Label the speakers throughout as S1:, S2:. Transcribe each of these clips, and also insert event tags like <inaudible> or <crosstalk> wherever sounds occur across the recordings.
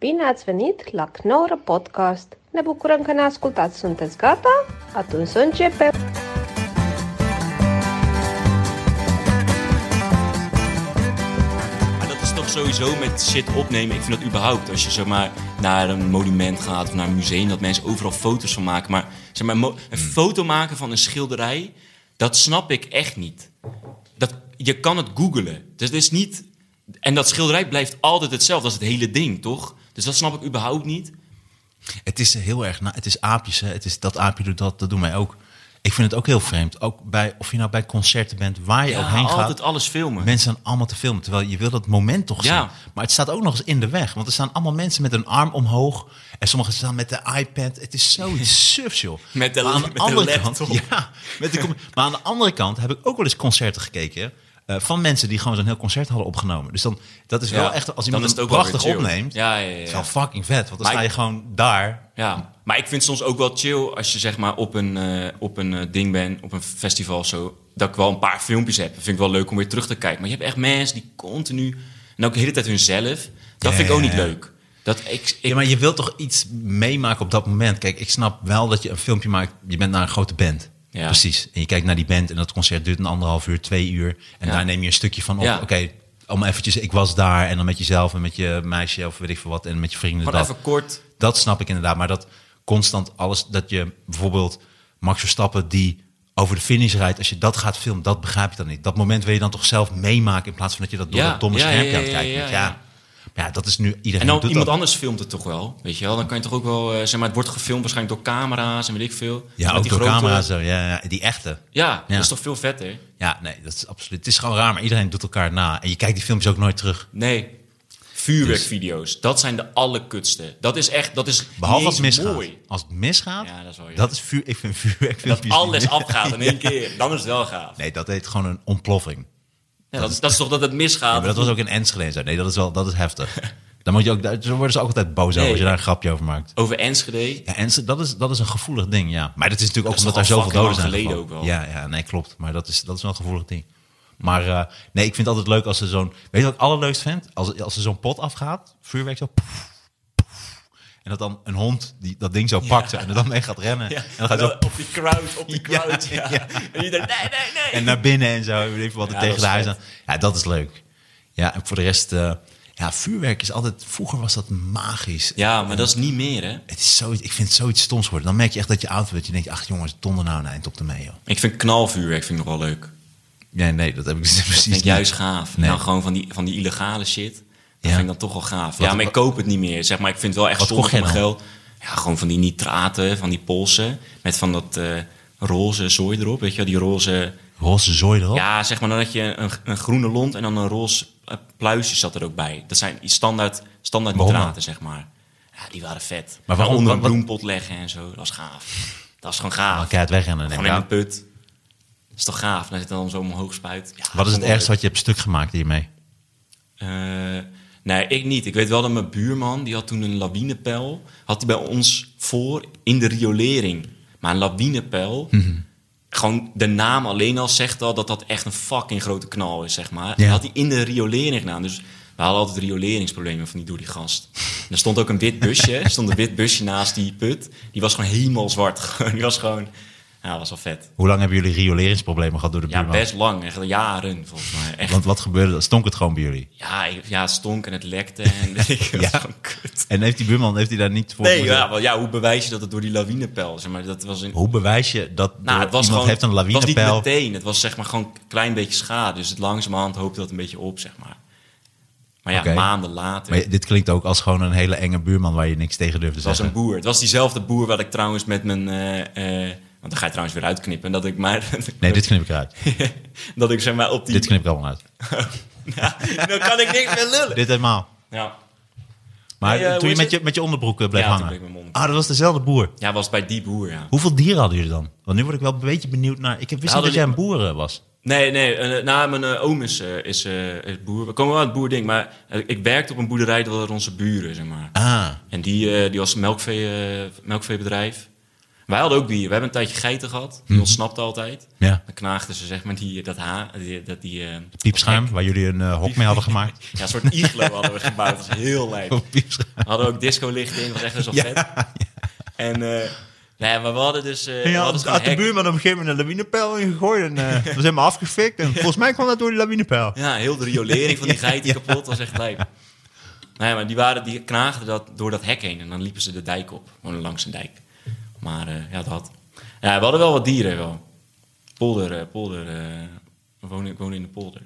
S1: Bine ați venit la Knorr Podcast! Ne bucurăm că ne ascultați! Sunteți gata? Atunci să începem!
S2: Maar dat is toch sowieso met shit opnemen. Ik vind dat überhaupt. Als je zomaar naar een monument gaat of naar een museum, dat mensen overal foto's van maken. Maar, zeg maar mo- een foto maken van een schilderij, dat snap ik echt niet. Dat, je kan het googelen. Dus het is niet. En dat schilderij blijft altijd hetzelfde. Dat is het hele ding, toch? Dus dat snap ik überhaupt niet.
S3: Het is heel erg, na- het is aapjes, hè. het is dat aapje doet dat, dat doen wij ook. Ik vind het ook heel vreemd, ook bij, of je nou bij concerten bent, waar je ook heen gaat.
S2: altijd alles filmen.
S3: Mensen zijn allemaal te filmen, terwijl je wil dat moment toch zien.
S2: Ja.
S3: Maar het staat ook nog eens in de weg, want er staan allemaal mensen met een arm omhoog. En sommigen staan met de iPad. Het
S2: <laughs>
S3: is zoiets sufs, joh.
S2: Met de-
S3: Maar aan
S2: met de
S3: andere
S2: laptop.
S3: Kant, ja, met de,
S2: <laughs>
S3: com- maar aan de andere kant heb ik ook wel eens concerten gekeken... eh, van mensen die gewoon zo'n heel concert hadden opgenomen. Dus dan, dat is
S2: Ja,
S3: wel echt, als
S2: dan
S3: iemand
S2: is
S3: het
S2: het ook wel
S3: prachtig
S2: weer chill.
S3: opneemt,
S2: Ja, ja, ja,
S3: is
S2: ja.
S3: wel fucking vet. Want dan
S2: Maar
S3: sta je
S2: ik-
S3: gewoon daar
S2: Ja, maar ik vind het soms ook wel chill als je zeg maar op een, eh, op een eh, ding bent, op een festival of zo, dat ik wel een paar filmpjes heb. Dat vind ik wel leuk om weer terug te kijken. Maar je hebt echt mensen die continu, en ook de hele tijd hunzelf, dat
S3: Ja,
S2: vind ik ook
S3: ja,
S2: niet
S3: ja.
S2: leuk. Dat ik, ik
S3: Ja, maar je wilt toch iets meemaken op dat moment. Kijk, ik snap wel dat je een filmpje maakt. Je bent naar een grote band.
S2: Ja.
S3: Precies. En je kijkt naar die band en dat concert duurt een anderhalf uur, twee uur. En
S2: Ja.
S3: daar neem je een stukje van op.
S2: Ja.
S3: Oké, om eventjes, ik was daar. En dan met jezelf en met je meisje of weet ik veel wat. En met je vrienden.
S2: gewoon
S3: Dat,
S2: even kort.
S3: dat snap ik inderdaad. Maar dat constant alles, dat je bijvoorbeeld Max Verstappen die over de finish rijdt. Als je dat gaat filmen, dat begrijp je dan niet. Dat moment wil je dan toch zelf meemaken in plaats van dat je dat door
S2: Ja,
S3: dat domme
S2: ja,
S3: schermpje
S2: ja,
S3: aan het
S2: ja,
S3: kijken
S2: ja,
S3: bent.
S2: ja.
S3: Ja. Maar ja, dat is nu iedereen
S2: En dan
S3: doet
S2: iemand
S3: dat.
S2: anders filmt het toch wel, weet je wel? Dan kan je toch ook wel, eh, zeg maar, het wordt gefilmd waarschijnlijk door camera's en weet ik veel.
S3: Ja,
S2: Met
S3: ook
S2: die
S3: door
S2: grote-
S3: camera's. zo. Ja, ja, die echte.
S2: Ja,
S3: Ja.
S2: dat is toch veel vetter?
S3: Ja, nee, dat is absoluut. Het is gewoon raar, maar iedereen doet elkaar na. En je kijkt die filmpjes ook nooit terug.
S2: Nee. Vuurwerkvideo's, dat zijn de allerkutste. Dat is echt, dat is
S3: Dus- Behalve
S2: niet
S3: als het
S2: eens
S3: misgaat.
S2: mooi.
S3: Als het misgaat,
S2: Ja, dat is wel jammer.
S3: vuur. Ik vind vuurwerkfilmpjes.
S2: Dat alles
S3: niet-
S2: afgaat in <laughs>
S3: <laughs>
S2: één keer, dan is het wel gaaf.
S3: Nee, dat heet gewoon een ontploffing.
S2: Ja, dat, is, dat is toch dat het misgaat?
S3: Ja, maar dat was ook in Enschede. en Zo. Nee, dat is wel dat is heftig. Dan moet je ook, daar zo worden ze ook altijd boos
S2: Nee.
S3: over als je daar een grapje over maakt.
S2: Over Enschede.
S3: Ja, Enschede, dat is, dat is een gevoelig ding, ja. Maar dat is natuurlijk
S2: is
S3: ook omdat daar
S2: toch al
S3: zoveel doden zijn.
S2: fucking lang
S3: gevallen.
S2: geleden
S3: Ja, ja, nee, klopt. Maar dat is, dat is wel een gevoelig ding. Maar eh, nee, ik vind het altijd leuk als er zo'n... Weet je wat ik allerleukst vind? Als, als er zo'n pot afgaat, vuurwerk zo... poef, poef. en dat dan een hond die, dat ding zo pakt en er dan mee gaat
S2: <laughs>
S3: rennen. en dan gaat zo...
S2: op die crowd, op die crowd. <laughs> Ja,
S3: ja.
S2: En je denkt, nee, nee, nee.
S3: en naar binnen en zo. en Weet ik veel wat er
S2: Ja,
S3: tegen
S2: dat
S3: de
S2: is vet.
S3: huis aan. Ja, dat is leuk. Ja, en voor de rest... eh, ja, vuurwerk is altijd... Vroeger was dat magisch.
S2: ja, maar dat is niet meer, hè.
S3: Het is zoiets, ik vind het zoiets stoms worden. Dan merk je echt dat je oud wordt. Je denkt, ach jongens, donder nou een eind op de mee, joh.
S2: Ik vind knalvuurwerk vind ik nog wel leuk.
S3: Nee, nee, dat heb ik <laughs>
S2: Dat
S3: precies
S2: vind ik
S3: niet.
S2: juist gaaf.
S3: Nee.
S2: Nou, gewoon van die, van die illegale shit. Dat
S3: Ja.
S2: vind ik dan toch wel gaaf.
S3: Wat-
S2: ja, maar ik koop het niet meer, zeg maar. Ik vind het wel echt
S3: Wat
S2: zonde
S3: kocht
S2: van
S3: jij
S2: mijn
S3: dan?
S2: geld. Ja, gewoon van die nitraten, van die polsen. Met van dat eh, roze zooi erop, weet je wel. Die roze...
S3: Roze zooi erop.
S2: Ja, zeg maar dan had je een, een groene lont en dan een roze eh, pluisje zat er ook bij. Dat zijn die standaard, standaard
S3: Waarom
S2: nitraten, zeg maar. Ja, die waren vet.
S3: Maar waarom-
S2: Onder een
S3: wat- wat-
S2: bloempot leggen en zo, dat is gaaf. Dat is gewoon
S3: Dan
S2: gaaf.
S3: kan je het wegrennen. denk
S2: Gewoon
S3: ik.
S2: in een put. Dat is toch gaaf? Dan zit dan zo omhoog spuit. Ja,
S3: Wat is het
S2: gewoon
S3: ergste wat je hebt stuk gemaakt hiermee?
S2: eh, nee, ik niet. Ik weet wel dat mijn buurman, die had toen een lawinepijl, had hij bij ons voor in de riolering. Maar een lawinepijl, gewoon de naam alleen al zegt al dat dat echt een fucking grote knal is, zeg maar. En
S3: Ja.
S2: Dat had hij in de riolering gedaan. Dus we hadden altijd rioleringsproblemen van die door die gast. En er stond ook een wit busje, er stond een wit busje naast die put. Die was gewoon helemaal zwart. <laughs> Gewoon, die was gewoon, ja, dat was wel vet.
S3: Hoe lang hebben jullie rioleringsproblemen gehad door de
S2: Ja,
S3: buurman?
S2: best lang, echt jaren volgens mij. Echt,
S3: Want wat gebeurde? er? Stonk het gewoon bij jullie?
S2: ja, ik- ja, het stonk en het lekte
S3: <laughs>
S2: en <laughs> weet ik, het was
S3: Ja.
S2: gewoon kut.
S3: En heeft die buurman heeft hij daar niet voor
S2: Nee,
S3: moeten-
S2: ja, wel, ja, hoe bewijs je dat het door die lawinepijl? Zeg maar, dat was een,
S3: Hoe bewijs je dat
S2: nou,
S3: door-
S2: het was
S3: iemand
S2: gewoon,
S3: heeft een
S2: Het was
S3: lawinepijl?
S2: niet meteen, het was zeg maar gewoon een klein beetje schade. Dus het langzamerhand hoopte dat een beetje op, zeg maar. Maar ja,
S3: Oké.
S2: maanden later.
S3: Maar dit klinkt ook als gewoon een hele enge buurman waar je niks tegen durft te
S2: het was
S3: zeggen.
S2: een boer. Het was diezelfde boer waar ik trouwens met mijn... eh, eh, want dan ga je trouwens weer uitknippen. Dat ik maar... <laughs>
S3: Nee, dit knip ik eruit.
S2: dat ik zeg maar op die...
S3: dit knip ik allemaal uit.
S2: Ja, <laughs> dan kan ik niks meer lullen.
S3: Dit helemaal.
S2: Ja.
S3: Maar
S2: Nee, eh,
S3: toen
S2: hoe
S3: je
S2: is
S3: met,
S2: het?
S3: je met je onderbroek eh, bleef
S2: Ja, toen
S3: hangen.
S2: bleef mijn mond.
S3: Ah, dat was dezelfde boer.
S2: ja, was bij die boer, ja.
S3: Hoeveel dieren hadden jullie dan? Want nu word ik wel een beetje benieuwd naar... Ik wist niet
S2: hadden
S3: dat jij een boer eh, was.
S2: Nee, nee. eh, nou, mijn eh, oom is, eh, is, eh, is boer. We komen wel uit het boerding, maar eh, ik werkte op een boerderij dat waren onze buren, zeg maar.
S3: Ah,
S2: En die, eh, die was een melkvee, eh, melkveebedrijf. Maar Wij hadden ook dieren. We hebben een tijdje geiten gehad. Die ontsnapte altijd.
S3: Mhm. Ja.
S2: Dan knaagden ze zeg maar die, dat ha, die, dat die, eh,
S3: Piepschuim, waar jullie een eh, hok mee hadden
S2: <laughs>
S3: gemaakt.
S2: ja, een soort iglo hadden we gebouwd. Dat was heel lijp.
S3: Oh, piepschuim.
S2: We hadden ook disco licht in, dat was echt best wel
S3: Ja,
S2: vet. En eh, nee, maar we hadden dus. eh, we
S3: Ja,
S2: hadden
S3: had,
S2: gewoon een
S3: de
S2: hek.
S3: buurman op een gegeven moment een lawinepeil ingegooid en
S2: <laughs>
S3: eh we zijn maar afgefikt. En volgens mij kwam dat door die lawinepeil.
S2: Ja, heel de riolering
S3: <laughs>
S2: van die geiten kapot. Dat was echt lijp. Nee, maar die, waren, die knaagden dat door dat hek heen. En dan liepen ze de dijk op. Gewoon langs een dijk. Maar eh, ja, dat. Ja, we hadden wel wat dieren wel. Polder, eh, polder. eh, we wonen, ik woon in de polder.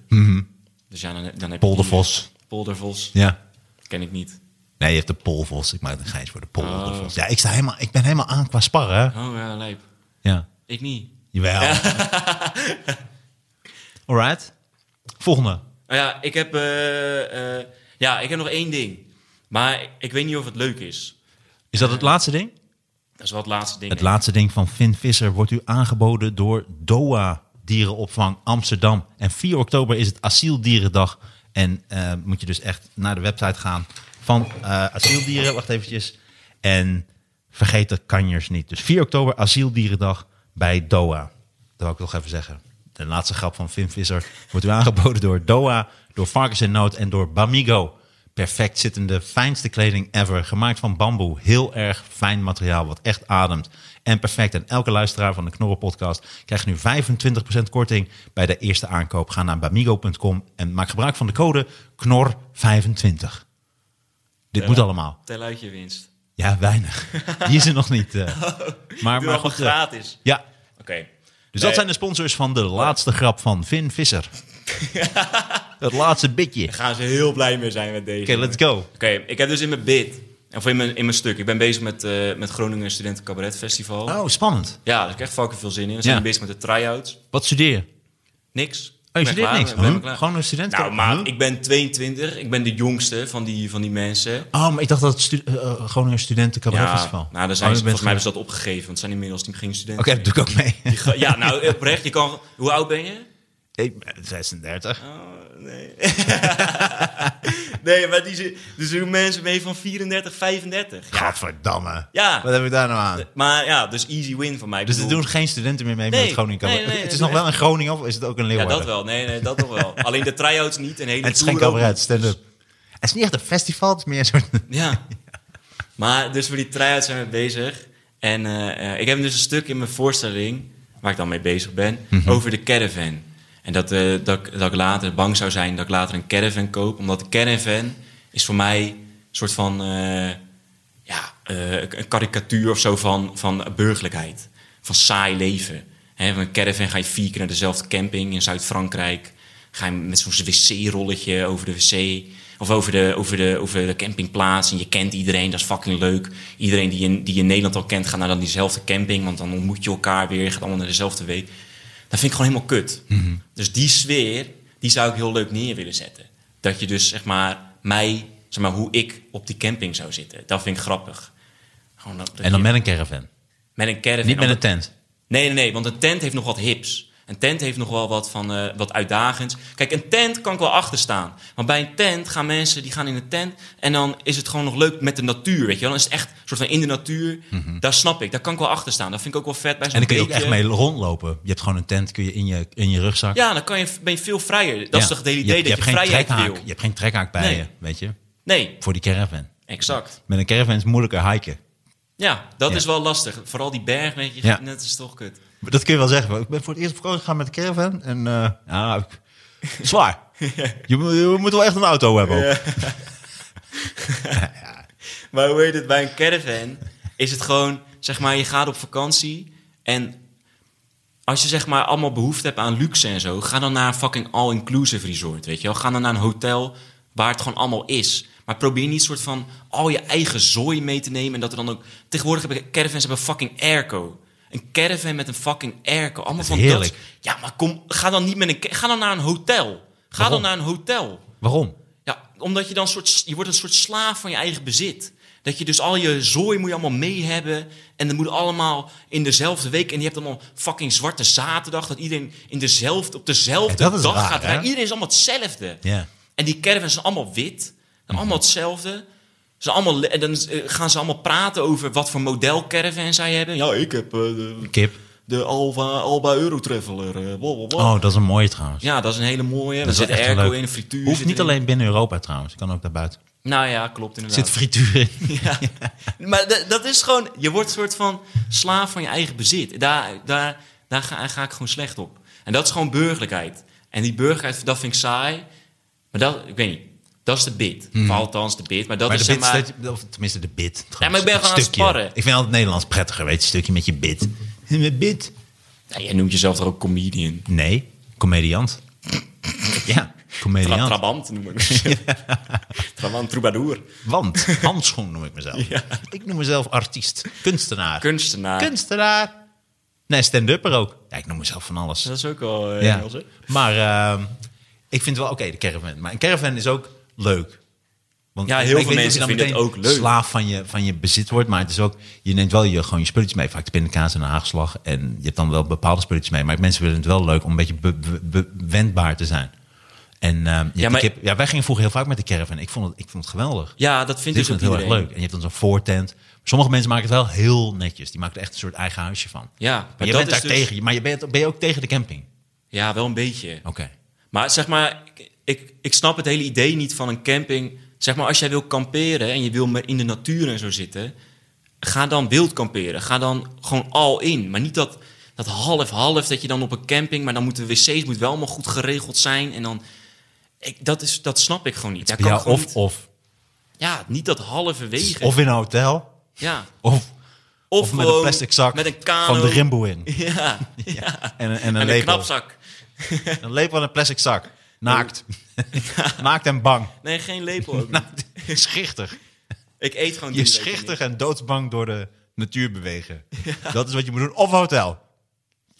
S2: Dus ja, dan, heb- dan heb je
S3: Mhm. Poldervos.
S2: dieren. Poldervos.
S3: Ja.
S2: Ken ik niet.
S3: Nee, je hebt de polvos. Ik maak een geintje voor de poldervos. Ja, ik, sta helemaal, ik ben helemaal aan qua sparren. hè.
S2: Oh ja, lijp.
S3: Ja.
S2: Ik niet.
S3: Jawel.
S2: <laughs>
S3: Alright. Volgende.
S2: Nou ja, ik heb, eh, eh, ja, ik heb nog één ding. Maar ik, ik weet niet of het leuk is.
S3: Is dat het laatste ding?
S2: Dat is wel het laatste ding.
S3: Het laatste ding van Finn Visser wordt u aangeboden door DOA Dierenopvang Amsterdam. En 4 oktober is het Asieldierendag. En eh, moet je dus echt naar de website gaan van eh, Asieldieren. Wacht eventjes. En vergeet de kanjers niet. Dus 4 oktober Asieldierendag bij DOA. Dat wil ik nog even zeggen. De laatste grap van Finn Visser wordt u aangeboden door DOA, door Varkens in Nood en door Bamigo. Perfect zittende, fijnste kleding ever. Gemaakt van bamboe. Heel erg fijn materiaal wat echt ademt. En perfect. En elke luisteraar van de Knorren podcast krijgt nu 25% korting bij de eerste aankoop. Ga naar bamigo.com en maak gebruik van de code KNOR25. Dit moet allemaal.
S2: Tel uit je winst.
S3: Ja, weinig. Die is er nog
S2: <laughs>
S3: niet. eh. Maar,
S2: Oh, Doe
S3: maar
S2: allemaal
S3: goed. eh,
S2: gratis.
S3: ja.
S2: Oké. Nee,
S3: Dus dat zijn de sponsors van de laatste grap van
S2: <laughs>
S3: Vin Visser. Dat laatste bitje.
S2: Daar gaan ze heel blij mee zijn met deze.
S3: Oké, let's go.
S2: Oké, ik heb dus in mijn bid, of in mijn, in mijn stuk, ik ben bezig met, eh, met Groningen Studenten Cabaret Festival.
S3: Oh, spannend.
S2: Ja, daar heb ik echt fucking veel zin in. We zijn
S3: Ja.
S2: bezig met de try-outs.
S3: Wat studeer Oh, je?
S2: Niks.
S3: Oh, je
S2: Ik ben
S3: studeert
S2: klaar,
S3: niks.
S2: ik ben
S3: Huh?
S2: klaar.
S3: Gewoon een student.
S2: Nou, maar ik ben 22. Ik ben de jongste van die, van die mensen.
S3: Oh, maar ik dacht dat het stu- eh, eh, gewoon een studentencabaretfestival.
S2: Ja, nou, daar zijn ze-
S3: Oh, je bent
S2: volgens mij hebben ze
S3: gewoon-
S2: dat opgegeven, want het zijn inmiddels niet geen studenten.
S3: Oké, dat doe ik ook mee.
S2: Ge- Ja, nou, oprecht, je kan... Hoe oud ben je?
S3: <laughs> Ik ben 36.
S2: Oh, nee. <laughs> nee, maar die, zi- dus er doen mensen mee van 34, 35. Ja.
S3: Gadverdamme.
S2: Ja.
S3: Wat heb ik daar nou aan?
S2: Maar ja, dus easy win van mij. Ik
S3: Dus er
S2: bedoel-
S3: doen geen studenten meer mee
S2: Nee,
S3: met het Groningen
S2: nee,
S3: cabaret.
S2: nee,
S3: het is
S2: nee,
S3: nog wel een Groningen of is het ook een
S2: Ja,
S3: Leeuwarden?
S2: dat wel. Nee, nee, dat nog wel. Alleen de try-outs niet. Een hele
S3: Het is geen
S2: tour ook
S3: cabaret,
S2: niet.
S3: stand-up. Het is niet echt een festival, het is meer een soort...
S2: <laughs> Ja. Maar dus voor die try-outs zijn we bezig. En eh, eh, ik heb dus een stuk in mijn voorstelling, waar ik dan mee bezig ben, over de caravan. En dat, eh, dat, ik- dat ik later bang zou zijn dat ik later een caravan koop. Omdat de caravan is voor mij een soort van eh, ja, eh, een karikatuur of zo van, van burgerlijkheid. Van saai leven. Hè, van een caravan ga je vier keer naar dezelfde camping in Zuid-Frankrijk. Ga je met zo'n wc-rolletje over de wc. Of over de, over, de, over de campingplaats. En je kent iedereen, dat is fucking leuk. Iedereen die je, die je in Nederland al kent, gaat naar dan diezelfde camping. Want dan ontmoet je elkaar weer. Je gaat allemaal naar dezelfde week. Dat vind ik gewoon helemaal kut.
S3: Mhm.
S2: Dus die sfeer, die zou ik heel leuk neer willen zetten. Dat je dus, zeg maar, mij, zeg maar, hoe ik op die camping zou zitten. Dat vind ik grappig. Gewoon dat, dat
S3: En dan
S2: je-
S3: met een caravan.
S2: met een caravan.
S3: Niet met een
S2: Omdat-
S3: tent.
S2: Nee, nee, nee, want een tent heeft nog wat hips. Een tent heeft nog wel wat, van, eh, wat uitdagends. Kijk, een tent kan ik wel achterstaan. Want bij een tent gaan mensen, die gaan in een tent... en dan is het gewoon nog leuk met de natuur, weet je wel. Dan is het echt een soort van in de natuur. Daar snap ik, daar kan ik wel achterstaan. Dat vind ik ook wel vet bij zo'n
S3: Mhm. En dan kun je ook
S2: beekje.
S3: echt mee rondlopen. Je hebt gewoon een tent, kun je in je, in je rugzak.
S2: Ja, dan kan je, ben je veel vrijer. Dat is
S3: Ja.
S2: toch het hele
S3: hebt-
S2: idee, dat je,
S3: hebt geen
S2: vrijheid
S3: trekhaak.
S2: wil.
S3: Je hebt geen trekhaak bij
S2: Nee.
S3: je, weet je.
S2: Nee,
S3: Voor die caravan.
S2: exact.
S3: Met een caravan is het moeilijker hiken.
S2: Ja, dat
S3: Ja.
S2: is wel lastig. Vooral die berg, weet je,
S3: Ja.
S2: dat is toch kut.
S3: Maar Dat kun je wel zeggen. want Ik ben voor het eerst op vakantie gegaan met de caravan. En eh, ja,
S2: <laughs>
S3: ik- zwaar. Je, moet- je moet wel echt een auto hebben. ook.
S2: Maar hoe heet het, bij een caravan is het gewoon, zeg maar, je gaat op vakantie en als je zeg maar allemaal behoefte hebt aan luxe en zo, ga dan naar een fucking all-inclusive resort, weet je wel. Ga dan naar een hotel waar het gewoon allemaal is. Maar probeer niet soort van al je eigen zooi mee te nemen en dat er dan ook... Tegenwoordig hebben caravans hebben fucking airco. Een caravan met een fucking airco. Allemaal
S3: is
S2: van
S3: heerlijk.
S2: dat- Ja, maar kom, ga dan niet met een... ca- Ga dan naar een hotel. Ga
S3: Waarom?
S2: dan naar een hotel.
S3: Waarom?
S2: Ja, omdat je dan soort, je wordt een soort slaaf van je eigen bezit. Dat je dus al je zooi moet je allemaal mee hebben. En dat moet allemaal in dezelfde week. En je hebt allemaal fucking zwarte zaterdag. Dat iedereen in dezelfde, op dezelfde
S3: Ja, dat is
S2: dag
S3: raar,
S2: gaat.
S3: hè?
S2: rijden. Iedereen is allemaal hetzelfde.
S3: Ja. Mhm.
S2: En die caravans zijn allemaal wit. En allemaal hetzelfde. Ze allemaal, le- en dan eh, gaan ze allemaal praten over wat voor model caravan zij hebben. Ja, ik heb eh, de,
S3: Kip.
S2: de Alba, Alba Eurotraveler. eh, blablabla.
S3: Oh, dat is een mooie trouwens.
S2: Ja, dat is een hele mooie. Er
S3: dat is
S2: zit
S3: wel echt wel
S2: airco
S3: leuk.
S2: in, een frituur.
S3: Hoeft
S2: zit
S3: niet
S2: erin.
S3: alleen binnen Europa trouwens. Kan ook daarbuiten.
S2: Nou ja, klopt
S3: Er
S2: inderdaad.
S3: zit frituur <laughs> in.
S2: <laughs> Ja. Maar d- dat is gewoon, je wordt een soort van slaaf van je eigen bezit. Daar, daar, daar ga, ga ik gewoon slecht op. En dat is gewoon burgerlijkheid. En die burgerlijkheid, dat vind ik saai. Maar dat, ik weet niet, dat is de bit. Of althans de bit. Maar dat
S3: Hmm. maar
S2: is
S3: de
S2: zeg
S3: bit,
S2: maar,
S3: is dat je- of tenminste de bit.
S2: Ja, maar ik ben gewoon aan het
S3: Stukje.
S2: sparren.
S3: Ik vind altijd het Nederlands prettiger, weet je, een stukje met je bit. Met bit?
S2: Ja, jij noemt jezelf toch ook comedian?
S3: Nee, comediant. ja,
S2: Tra-
S3: comediant.
S2: Trabant noem
S3: <laughs>
S2: ik Trabant, troubadour.
S3: Want, handschoen noem
S2: <laughs>
S3: ik mezelf. Ik noem mezelf artiest, kunstenaar.
S2: Kunstenaar.
S3: Kunstenaar. Nee, stand-upper ook. Ja, ik noem mezelf van alles.
S2: dat is ook al eh,
S3: ja.
S2: Engels, hè?
S3: Maar ehm, ik vind wel oké, de caravan. Maar een caravan is ook leuk. Want
S2: Ja, heel
S3: ik
S2: veel
S3: weet niet of
S2: mensen
S3: je dan
S2: vinden het
S3: meteen
S2: ook leuk.
S3: slaaf van je, van je bezit wordt. Maar het is ook, je neemt wel je, gewoon je spulletjes mee. Vaak de pindakaas en de haagslag. En je hebt dan wel bepaalde spulletjes mee. Maar mensen vinden het wel leuk om een beetje be- be- be- wendbaar te zijn. En ehm, je hebt de
S2: maar-
S3: kip- ja, wij gingen vroeger heel vaak met de caravan. Ik vond het, ik vond het geweldig.
S2: Ja, dat vind
S3: Dit
S2: ik ook
S3: vind het heel erg
S2: iedereen.
S3: leuk. En je hebt dan zo'n voortent. Sommige mensen maken het wel heel netjes. Die maken er echt een soort eigen huisje van.
S2: Ja, maar
S3: maar, je
S2: dat
S3: bent
S2: is
S3: daar
S2: dus-
S3: tegen. Maar je bent, ben je ook tegen de camping?
S2: Ja, wel een beetje.
S3: Oké.
S2: Maar zeg maar, ik, ik, ik snap het hele idee niet van een camping. Zeg maar, als jij wil kamperen en je wil maar in de natuur en zo zitten, ga dan wild kamperen. Ga dan gewoon al in. Maar niet dat, dat half-half dat je dan op een camping, maar dan moeten de wc's moet wel allemaal goed geregeld zijn. En dan, ik, dat, is, dat snap ik gewoon niet. Daar kan
S3: Ja,
S2: ik gewoon
S3: of,
S2: niet-
S3: of,
S2: ja, niet dat halve wegen.
S3: of in een hotel.
S2: ja.
S3: Of,
S2: of,
S3: of met een
S2: gewoon
S3: plastic zak
S2: Met een kano.
S3: van de Rimbo <laughs> in. En,
S2: Ja, ja.
S3: een- en een
S2: En een
S3: lepel.
S2: knapzak.
S3: een lepel en een plastic zak. <laughs> Naakt. Naakt en bang.
S2: Nee, geen lepel
S3: <laughs>
S2: ook niet.
S3: Naakt. Schichtig.
S2: Ik eet gewoon
S3: Je
S2: drie weken
S3: schichtig en doodsbang door de natuur bewegen. Dat is wat je moet doen. Of hotel.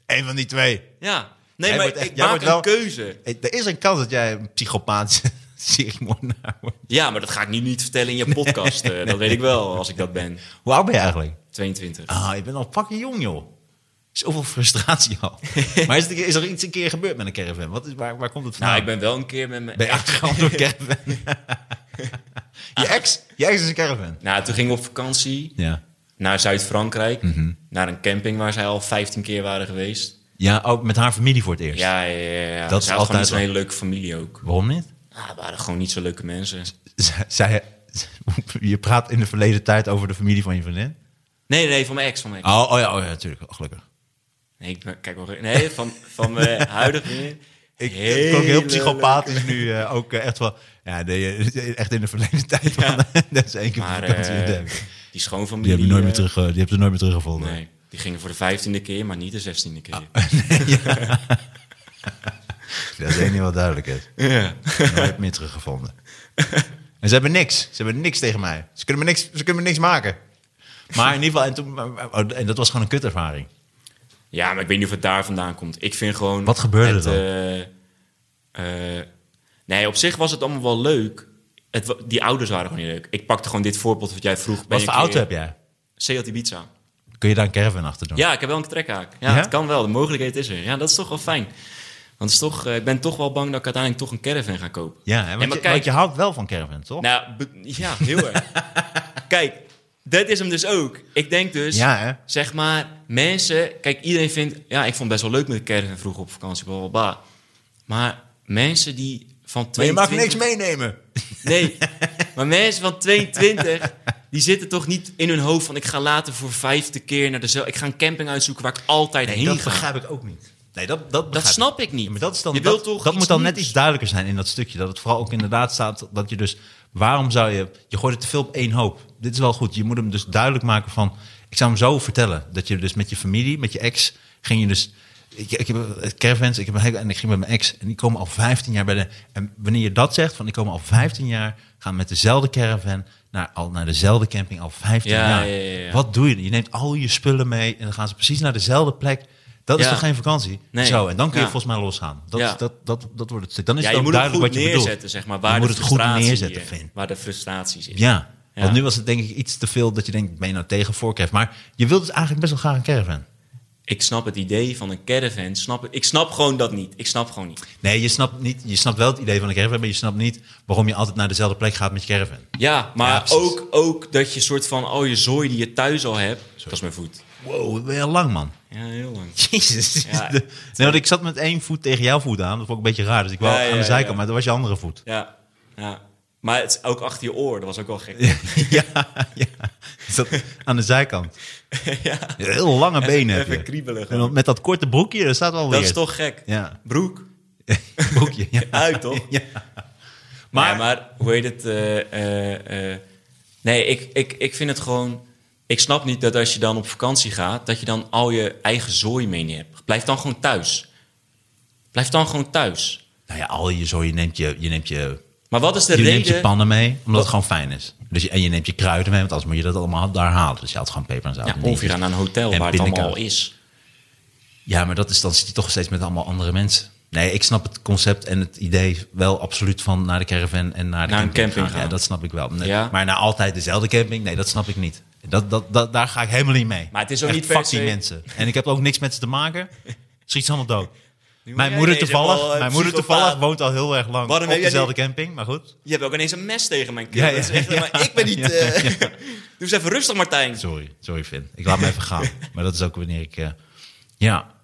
S3: Eén van die twee.
S2: niet. Ja. Nee,
S3: Jij
S2: maar
S3: wordt echt-
S2: ik
S3: jij
S2: maak
S3: wordt
S2: een
S3: wel-
S2: keuze.
S3: Hey, Er is een kans dat jij een psychopaat <laughs> seriemoordenaar wordt.
S2: Ja, maar dat ga ik nu niet vertellen in je podcast. eh, Dat weet ik wel, als ik dat ben.
S3: Hoe oud ben je eigenlijk?
S2: 22.
S3: Ah, je bent al fucking jong, joh. Zoveel frustratie
S2: <laughs>
S3: al. maar is, er- is er iets een keer gebeurd met een caravan? Wat is, waar, waar komt het vandaan?
S2: Nou, ik ben wel een keer met mijn...
S3: Ah. Ben je achtergehaald door een caravan?
S2: <laughs>
S3: je, ex, je ex is een caravan.
S2: Nou, toen gingen we op vakantie
S3: Ja.
S2: naar Zuid-Frankrijk.
S3: Mhm.
S2: Naar een camping waar zij al 15 keer waren geweest.
S3: Ja, ook met haar familie voor het eerst.
S2: Ja, ja, ja. ja.
S3: Dat
S2: Ze
S3: is
S2: had gewoon
S3: altijd
S2: niet zo'n
S3: wel-
S2: hele leuke familie ook.
S3: Waarom niet?
S2: Ah, het waren gewoon niet zo leuke mensen.
S3: Z- zij, <laughs> je praat in de verleden tijd over de familie van je vriendin.
S2: Nee, nee, van mijn ex. Van mijn ex.
S3: Oh, oh ja, oh ja, natuurlijk. Oh, gelukkig.
S2: Nee, ik ben- kijk wel... Nee, van, van
S3: <laughs>
S2: mijn huidige vriendin.
S3: Ik het
S2: Hele
S3: klonk heel
S2: leuke-
S3: psychopathisch nu eh, ook eh, echt wel. Ja, de, echt in de verleden tijd.
S2: Ja.
S3: van- <laughs> dat is één keer
S2: Maar
S3: op vakantie
S2: eh,
S3: met hem.
S2: die schoonfamilie...
S3: Die hebben nooit meer
S2: eh,
S3: terug, eh, die hebben ze nooit meer teruggevonden. Ah.
S2: Nee, die gingen voor de vijftiende keer, maar niet de zestiende keer.
S3: <laughs> Dat is één ding wat duidelijk
S2: <laughs>
S3: is.
S2: Ja.
S3: Nooit meer teruggevonden. En ze hebben niks. Ze hebben niks tegen mij. Ze kunnen me niks, ze kunnen me niks maken. Maar in ieder geval, en, toen, oh, en dat was gewoon een kutervaring.
S2: Ja, maar ik weet niet of het daar vandaan komt. Ik vind gewoon...
S3: Wat gebeurde er dan?
S2: eh, eh, nee, op zich was het allemaal wel leuk. Het, wa- die ouders waren gewoon niet leuk. Ik pakte gewoon dit voorbeeld wat jij vroeg.
S3: Wat voor auto heb jij?
S2: jij? Seat Ibiza.
S3: Kun je daar een caravan achter doen?
S2: Ja, ik heb wel een trekhaak. Ja,
S3: Ja?
S2: het kan wel. De mogelijkheid is er. Ja, dat is toch wel fijn. Want het is toch, eh, ik ben toch wel bang dat ik uiteindelijk toch een caravan ga kopen.
S3: Ja, hè, want,
S2: Nee, maar
S3: je,
S2: kijk-
S3: want je houdt wel van caravan, toch?
S2: Nou, be- ja, heel
S3: <laughs>
S2: erg. Kijk, dat is hem dus ook. Ik denk dus,
S3: Ja, hè?
S2: zeg maar, mensen... Kijk, iedereen vindt... Ja, ik vond het best wel leuk met de caravan vroeger op vakantie, bla, bla, bla. Maar mensen die van
S3: maar je
S2: 22...
S3: mag niks meenemen.
S2: Nee, maar mensen van 22... Die zitten toch niet in hun hoofd van... Ik ga later voor vijfde keer naar de... Ik ga een camping uitzoeken waar ik altijd heen
S3: dat
S2: ga.
S3: begrijp ik ook niet. Nee, dat, dat,
S2: Dat
S3: begrijp
S2: snap ik niet.
S3: Ja, maar dat is dan,
S2: Je
S3: dat,
S2: wilt toch
S3: dat
S2: iets
S3: moet dan net
S2: nieuws?
S3: iets duidelijker zijn in dat stukje. Dat het vooral ook inderdaad staat dat je dus... Waarom zou je... Je gooit het te veel op één hoop. Dit is wel goed. Je moet hem dus duidelijk maken van... Ik zou hem zo vertellen. Dat je dus met je familie, met je ex, ging je dus... Ik, ik heb eh, caravans, ik heb een hele- en ik ging met mijn ex. En die komen al 15 jaar bij de... En wanneer je dat zegt, van die komen al 15 jaar... Gaan met dezelfde caravan naar, al, naar dezelfde camping al 15
S2: Ja,
S3: jaar.
S2: ja, ja, ja.
S3: Wat doe je? Je neemt al je spullen mee en dan gaan ze precies naar dezelfde plek. Dat is
S2: Ja.
S3: toch geen vakantie?
S2: Nee.
S3: Zo, en dan kun je
S2: Ja.
S3: volgens mij losgaan. Dat,
S2: Ja.
S3: is- dat, dat, dat wordt het stuk. Dan is
S2: ja,
S3: het
S2: je
S3: ook
S2: moet het
S3: duidelijk
S2: goed
S3: wat je bedoelt.
S2: neerzetten, zeg maar. Waar
S3: je
S2: de
S3: moet het goed
S2: frustratie,
S3: neerzetten,
S2: eh,
S3: vind
S2: Waar de frustratie zit.
S3: Ja, want
S2: Ja.
S3: nu was het denk ik iets te veel dat je denkt, ben je nou tegen voorkeur? Maar je wilt dus eigenlijk best wel graag een caravan.
S2: Ik snap het idee van een caravan. Snap, ik- ik snap gewoon dat niet. Ik snap gewoon niet.
S3: Nee, je snapt, niet, je snapt wel het idee van een caravan, maar je snapt niet waarom je altijd naar dezelfde plek gaat met je caravan.
S2: Ja,
S3: Ja,
S2: maar
S3: precies.
S2: ook, ook dat je soort van al je zooi die je thuis al hebt. Dat is mijn voet.
S3: Wow, ben je al lang, man. <laughs>
S2: Ja, heel lang.
S3: Jezus.
S2: Ja.
S3: nee, want ik zat met één voet tegen jouw voet aan. Dat vond ik een beetje raar. Dus ik wou
S2: Ja, ja,
S3: aan de zijkant,
S2: ja.
S3: maar dat was je andere voet.
S2: Ja, ja. Maar het is ook achter je oor. Dat was ook wel gek.
S3: <laughs> ja, ja. Ik zat aan de zijkant.
S2: <laughs> ja.
S3: Heel lange benen
S2: even
S3: heb je.
S2: kriebelig,
S3: En
S2: hoor.
S3: met dat korte broekje, dat staat wel
S2: Dat
S3: weer.
S2: is toch gek.
S3: Ja,
S2: Broek,
S3: broekje.
S2: <laughs>
S3: Ja.
S2: uit toch?
S3: <laughs> Ja.
S2: Maar,
S3: Maar-
S2: nee, maar hoe heet het? eh, eh, eh, nee, ik, ik, ik vind het gewoon. Ik snap niet dat als je dan op vakantie gaat, dat je dan al je eigen zooi mee niet hebt. Blijf dan gewoon thuis. Blijf dan gewoon thuis.
S3: Nou ja, al je zo, je neemt je, je, neemt je,
S2: Maar wat is de
S3: je,
S2: reden? Oh.
S3: neemt je pannen mee, omdat het gewoon fijn is. Dus je, en je neemt je kruiden mee, want anders moet je dat allemaal daar halen. Dus je haalt gewoon peper en zout.
S2: ja,
S3: en
S2: of je
S3: dingetjes.
S2: gaat naar een hotel
S3: En
S2: waar het allemaal al
S3: pindakaas.
S2: is.
S3: Ja, maar dat is, dan zit je toch steeds met allemaal andere mensen. Nee, ik snap het concept en het idee wel absoluut van naar de caravan en naar de
S2: Naar een
S3: camping,
S2: camping gaan.
S3: Ja, dat snap ik wel. Nee,
S2: Ja.
S3: Maar naar altijd dezelfde camping, nee, dat snap ik niet. Dat, dat, dat, daar ga ik helemaal niet mee.
S2: Maar het is ook
S3: Echt,
S2: niet per
S3: fuck
S2: se-
S3: die mensen. En ik heb ook niks met ze te
S2: <laughs>
S3: maken. Schiet ze allemaal dood. Mijn
S2: jij
S3: moeder,
S2: deze wel,
S3: toevallig,
S2: eh,
S3: mijn moeder
S2: psychopaat.
S3: toevallig woont al heel erg lang
S2: Waarom heb
S3: op
S2: jij
S3: dezelfde camping, maar goed.
S2: Je hebt ook ineens een mes tegen mijn keel.
S3: Ja,
S2: Dat is
S3: ja,
S2: echt,
S3: ja.
S2: maar ik ben niet...
S3: Ja,
S2: eh,
S3: ja.
S2: <laughs> Doe eens even rustig, Martijn.
S3: Sorry, sorry Finn. Ik laat me even gaan. <laughs> Maar dat is ook wanneer ik... eh, ja.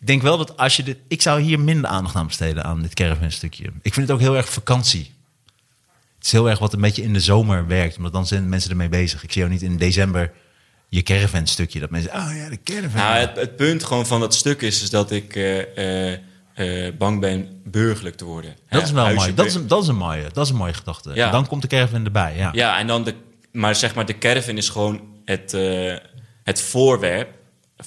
S3: Ik denk wel dat als je dit... Ik zou hier minder aandacht aan besteden aan dit caravan stukje. Ik vind het ook heel erg vakantie. Het is heel erg wat een beetje in de zomer werkt. Omdat dan zijn mensen ermee bezig. Ik zie jou niet in december je caravan stukje. Dat mensen... Oh ja, de caravan.
S2: Nou, het, het punt gewoon van dat stuk is, is dat ik eh, eh, eh, bang ben burgerlijk te worden.
S3: dat
S2: Hè,
S3: is wel
S2: huisje
S3: mooi. Dat is,
S2: bur-
S3: een, dat is een mooie. Dat is een mooie gedachte.
S2: Ja.
S3: En Dan komt de caravan erbij. Ja.
S2: Ja, en dan de, maar zeg maar, de caravan is gewoon het, eh, het voorwerp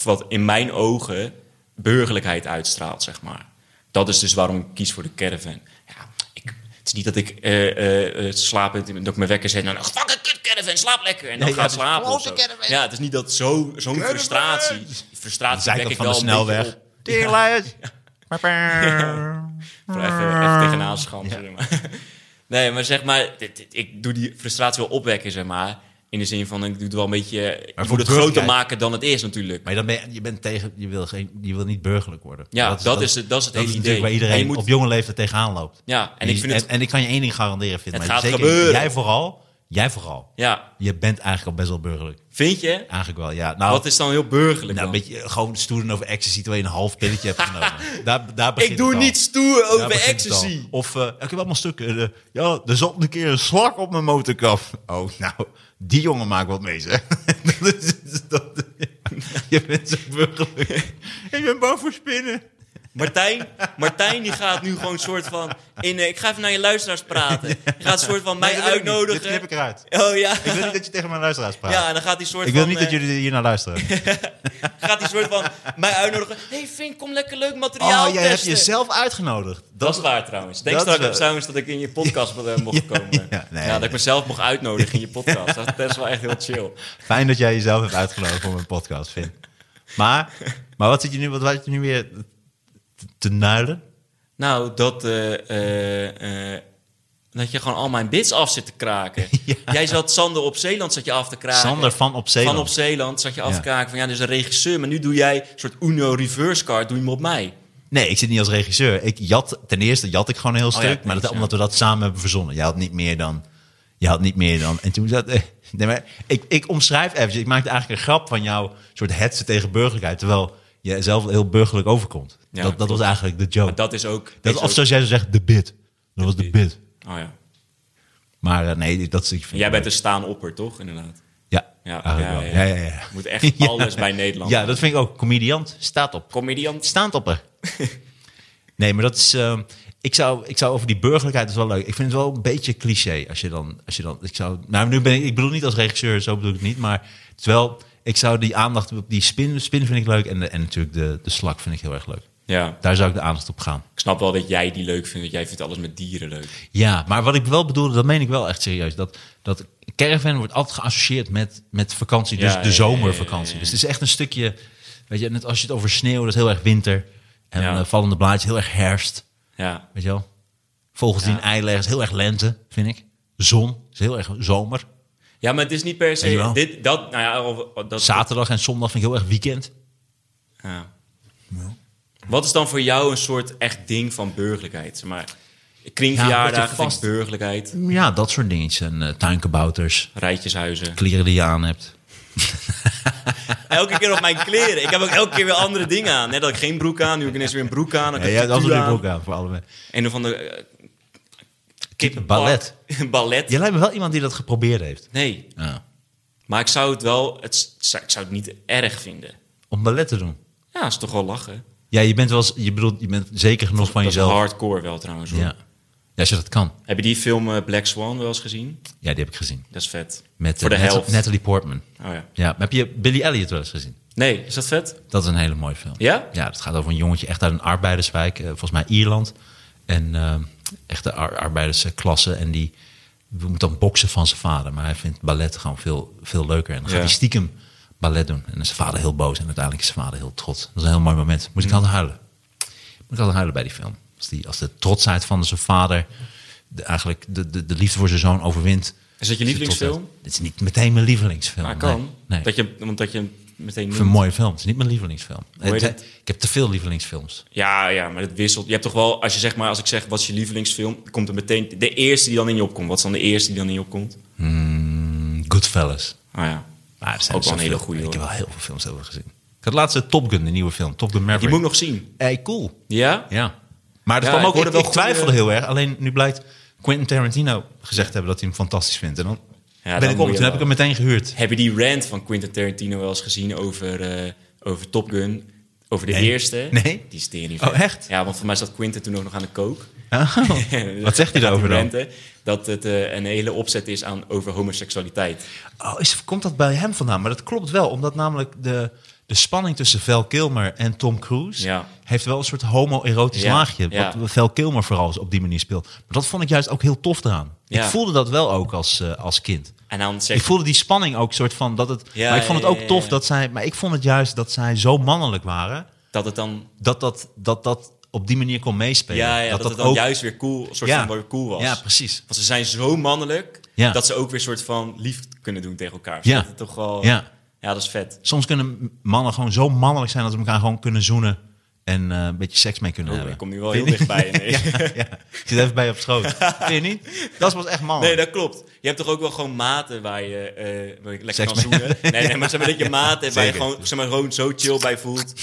S2: wat in mijn ogen burgerlijkheid uitstraalt, zeg maar. Dat is dus waarom ik kies voor de caravan. Ja, ik, het is niet dat ik eh, eh, eh, slaap en dat ik mijn wekker zet en dan, "Oh, fuck it, caravan, slaap lekker. En dan
S3: Nee,
S2: ga
S3: ja,
S2: ik
S3: dus
S2: slapen. of
S3: klote
S2: zo.
S3: caravan.
S2: Ja, het is niet dat zo- zo'n frustratie, frustratie
S3: Zij
S2: wek
S3: kan
S2: ik
S3: van
S2: wel
S3: de
S2: een beetje
S3: snelweg.
S2: op.
S3: Teerluis.
S2: Voor Even, even tegenaan schampen, zeg maar. <laughs> Nee, maar zeg maar, dit- dit- ik doe die frustratie wel opwekken, zeg maar. In de zin van, ik doe het wel een beetje... Ik
S3: voor
S2: moet het
S3: burgerlijkheid.
S2: groter maken dan het is natuurlijk.
S3: Maar dan ben je, je bent tegen, je wil, geen, je wil niet burgerlijk worden.
S2: Ja, dat is het- dat is het hele
S3: natuurlijk
S2: idee.
S3: waar
S2: En je
S3: iedereen
S2: moet-
S3: op jonge leeftijd tegenaan loopt.
S2: Ja, en
S3: Je-
S2: ik vind het-
S3: en, ik kan je één ding garanderen, Fit.
S2: Het
S3: maar
S2: gaat
S3: zeker,
S2: gebeuren.
S3: Jij vooral, jij vooral.
S2: Ja,
S3: Je bent eigenlijk al best wel burgerlijk.
S2: vind je?
S3: Eigenlijk wel, ja. Nou,
S2: Wat is dan heel burgerlijk
S3: nou, een
S2: dan?
S3: beetje gewoon stoeren over ecstasy terwijl je een half pilletje
S2: <laughs>
S3: hebt genomen. Daar, daar begint
S2: Ik doe
S3: het al.
S2: niet stoer
S3: Daar
S2: over
S3: begint het al.
S2: ecstasy.
S3: Of, eh, ik heb allemaal stukken. eh, ja, er zat een keer een slak op mijn motorkaf. Oh, nou, die jongen maakt wat mee, zeg. <laughs> dat is, dat, je bent zo burgerlijk. ik ben bang voor spinnen. <laughs>
S2: Martijn, Martijn die gaat nu gewoon een soort van... In, eh, ik ga even naar je luisteraars
S3: <laughs>
S2: praten. Je gaat een soort van mij
S3: Nee, dat wil ik niet.
S2: uitnodigen.
S3: Dit knip ik eruit.
S2: Oh ja.
S3: Ik wil niet dat je tegen mijn luisteraars praat.
S2: <laughs> Ja, en dan gaat hij soort
S3: ik wil
S2: van...
S3: niet dat
S2: eh,
S3: jullie hier naar luisteren.
S2: <laughs> Gaat hij soort van mij uitnodigen. hey Vink, kom lekker leuk materiaal
S3: Oh, jij hebt
S2: testen.
S3: jezelf uitgenodigd.
S2: Dat is waar trouwens. Denk
S3: dat is
S2: straks
S3: waar.
S2: trouwens dat ik in je
S3: <laughs>
S2: podcast eh, mocht komen. Ja,
S3: ja, nee,
S2: dat ik
S3: nee.
S2: mezelf mocht uitnodigen in je podcast. Dat is wel echt heel chill.
S3: Fijn dat jij jezelf hebt uitgenodigd voor mijn podcast, Vin. Maar, maar wat zit je nu, wat, wat zit je nu weer te, te nuilen?
S2: Nou, dat, eh, eh, eh, dat je gewoon al mijn bits af zit te
S3: <laughs>
S2: kraken. Jij zat Sander op Zeeland zat je af te kraken.
S3: Sander van op Zeeland.
S2: Van op Zeeland zat je af te
S3: Ja.
S2: kraken van ja, dus een regisseur. Maar nu doe jij een soort Uno reverse card, doe je hem op mij.
S3: Nee, ik zit niet als regisseur. Ik jat, ten eerste jat ik gewoon een heel
S2: Oh ja,
S3: stuk. maar dat,
S2: precies, ja.
S3: omdat we dat samen hebben verzonnen. Jij had niet meer dan. Je had niet meer dan. En toen zat. <laughs> eh, Nee, maar ik, ik omschrijf eventjes. Ik maakte eigenlijk een grap van jouw soort hetze tegen burgerlijkheid. Terwijl je zelf heel burgerlijk overkomt.
S2: Ja,
S3: dat, dat
S2: klopt.
S3: was eigenlijk de joke.
S2: Maar dat is ook...
S3: Dat,
S2: is
S3: of
S2: ook-
S3: zoals jij zo zegt, de bit. Dat was de bit.
S2: Oh ja.
S3: Maar eh, nee, dat is. Ik vind
S2: Jij bent een staan opper, toch? Inderdaad.
S3: Ja,
S2: Ja,
S3: eigenlijk
S2: ja,
S3: wel.
S2: ja.
S3: ja, ja, <laughs> ja.
S2: Moet echt alles bij Nederland.
S3: Ja, dat vind ik ook. Comediant, staat op.
S2: Comediant.
S3: Staand op er. <laughs> nee, maar dat is. ehm, ik, zou, ik zou over die burgerlijkheid dat is wel leuk. Ik vind het wel een beetje cliché als je dan. Als je dan ik zou, nou, nu ben ik, ik bedoel niet als regisseur, zo bedoel ik het niet. Maar terwijl ik zou die aandacht op die spin, spin vind ik leuk. En, de, en natuurlijk de, de slak vind ik heel erg leuk.
S2: Ja.
S3: Daar zou ik de aandacht op gaan.
S2: Ik snap wel dat jij die leuk vindt, want jij vindt alles met dieren leuk.
S3: Ja, maar wat ik wel bedoelde, dat meen ik wel echt serieus. Dat, dat caravan wordt altijd geassocieerd met, met vakantie, dus
S2: Ja,
S3: de
S2: ja,
S3: zomervakantie.
S2: ja, ja, ja.
S3: Dus het is echt een stukje, weet je, net als je het over sneeuw, dat is heel erg winter. En
S2: Ja.
S3: eh, vallende blaadjes, heel erg herfst,
S2: Ja.
S3: weet je wel. Vogels die een ei leggen, is heel erg lente, vind ik. Zon, is heel erg zomer.
S2: Ja, maar het is niet per
S3: Weet je
S2: se.
S3: wel?
S2: Dit, dat, nou ja, of- of dat,
S3: Zaterdag en zondag vind ik heel erg weekend.
S2: Ja. Wat is dan voor jou een soort echt ding van burgerlijkheid? Zeg maar,
S3: Ja, dat
S2: kringverjaardag,
S3: je
S2: vind
S3: vast-
S2: ik burgerlijkheid,
S3: Ja, dat soort dingetjes. En eh, tuinkabouters,
S2: rijtjeshuizen.
S3: kleren die je aan hebt.
S2: Elke keer op mijn kleren. Ik heb ook elke keer weer andere dingen aan. Net had ik geen broek aan, nu heb ik ineens weer een broek aan. Dan
S3: Ja,
S2: heb ik
S3: jij hebt
S2: een
S3: altijd
S2: tutu
S3: een
S2: aan.
S3: broek aan voor allebei.
S2: Een of ander... eh, kippenpak.
S3: ballet.
S2: <laughs> ballet.
S3: Je lijkt me wel iemand die dat geprobeerd heeft.
S2: Nee,
S3: Ja. maar
S2: maar ik zou het wel... Het, s- zou- ik zou het niet erg vinden.
S3: Om ballet te doen.
S2: Ja, dat is toch wel lachen.
S3: Ja, je bent wel eens- je bedoelt, je bent zeker genoeg van
S2: Dat is
S3: jezelf.
S2: hardcore wel trouwens. Hoor.
S3: Ja. ja, als je dat kan.
S2: Heb je die film eh, Black Swan wel eens gezien?
S3: Ja, die heb ik gezien.
S2: Dat is vet.
S3: Met eh,
S2: Voor de
S3: Nat-
S2: helft.
S3: Natalie Portman.
S2: Oh ja.
S3: Ja, maar heb je Billy Elliot wel eens gezien?
S2: Nee, is dat vet?
S3: Dat is een hele mooie film.
S2: Ja?
S3: Ja, het gaat over een jongetje echt uit een arbeiderswijk, eh, volgens mij Ierland. En eh, echt de ar- arbeidersklasse. En die moet dan boksen van zijn vader. Maar hij vindt ballet gewoon veel, veel leuker. En dan gaat
S2: Ja.
S3: hij stiekem ballet doen. En dan is zijn vader heel boos. En uiteindelijk is zijn vader heel trots. Dat is een heel mooi moment. Moet ik
S2: Hmm.
S3: altijd huilen. Moet ik altijd huilen bij die film. Als, die, als de trotsheid van zijn vader de, eigenlijk de, de, de liefde voor zijn zoon overwint.
S2: Is dat je
S3: Zijn trotsheid.
S2: lievelingsfilm?
S3: Het is niet meteen mijn lievelingsfilm.
S2: Maar Ah, kan.
S3: Nee, nee.
S2: Dat je, want dat je hem meteen...
S3: Ik
S2: noemt.
S3: vind het een mooie film. Het is niet mijn lievelingsfilm.
S2: heet
S3: Het-
S2: het?
S3: ik heb te veel lievelingsfilms.
S2: Ja, ja, maar het wisselt. Je hebt toch wel, als je zeg maar, als ik zeg wat is je lievelingsfilm, komt er meteen de eerste die dan in je opkomt. Wat is dan de eerste die dan in je opkomt?
S3: Mm, Goodfellas.
S2: Ah ja.
S3: Maar er zijn
S2: Ook wel een
S3: zoveel.
S2: hele goeie,
S3: Ik heb
S2: hoor.
S3: wel heel veel films over gezien. Ik had laatst eh, Top Gun, de nieuwe film. Top Gun
S2: Die
S3: Maverick.
S2: moet ik nog zien.
S3: Hey, cool.
S2: Ja?
S3: Ja. Maar dat
S2: Ja,
S3: kwam
S2: ik
S3: ook, ik,
S2: hoorde wel
S3: ik twijfelde
S2: goede-
S3: heel erg. Alleen nu blijkt Quentin Tarantino gezegd hebben dat hij hem fantastisch vindt. En dan
S2: Ja,
S3: ben
S2: dan
S3: ik
S2: moet
S3: om.
S2: je
S3: Toen heb
S2: wel.
S3: ik hem meteen <laughs> gehuurd.
S2: Heb je die rant van Quentin Tarantino wel eens gezien over, eh, over Top Gun? Over de
S3: Nee.
S2: eerste?
S3: Nee.
S2: Die is tering
S3: Oh,
S2: vet.
S3: echt?
S2: Ja, want voor mij zat Quentin toen ook nog aan de kook. Dus
S3: wat zegt hij daarover dan?
S2: ranten Dat het eh, een hele opzet is aan, over homoseksualiteit.
S3: Oh, is, komt dat bij hem vandaan? Maar dat klopt wel, omdat namelijk de, de spanning tussen Val Kilmer en Tom Cruise
S2: Ja.
S3: heeft wel een soort homoerotisch
S2: Ja,
S3: laagje.
S2: ja.
S3: Wat Val Kilmer vooral is op die manier speelt. Maar dat vond ik juist ook heel tof eraan.
S2: Ja.
S3: Ik voelde dat wel ook als, eh, als kind.
S2: En dan
S3: Ik
S2: zegt
S3: voelde die spanning ook soort van dat het.
S2: Ja,
S3: maar ik vond het
S2: ja,
S3: ook
S2: ja,
S3: tof
S2: ja.
S3: dat zij. Maar ik vond het juist dat zij zo mannelijk waren.
S2: dat het dan,
S3: Dat dat, dat, dat op die manier kon meespelen.
S2: ja, ja, dat het dan juist weer cool, een soort
S3: Ja.
S2: van cool was.
S3: Ja, precies.
S2: Want ze zijn zo mannelijk
S3: Ja.
S2: dat ze ook weer soort van lief kunnen doen tegen elkaar.
S3: Ja.
S2: Dat het toch wel,
S3: Ja.
S2: ja, dat is vet.
S3: Soms kunnen mannen gewoon zo mannelijk zijn dat ze elkaar gewoon kunnen zoenen. En eh, een beetje seks mee kunnen
S2: Oh,
S3: hebben.
S2: ik kom nu wel heel dichtbij.
S3: <laughs>
S2: Nee.
S3: ja, ik zit even bij je op schoot.
S2: <laughs>
S3: Vind je niet? Dat was echt man.
S2: nee, dat klopt. Je hebt toch ook wel gewoon maten waar je, eh, waar je lekker
S3: Seks
S2: kan
S3: mee.
S2: zoenen. Nee, nee, maar zeg maar dat
S3: <laughs>
S2: je maten waar je
S3: zeker.
S2: gewoon, zeg maar, gewoon zo chill bij
S3: <laughs>
S2: voelt.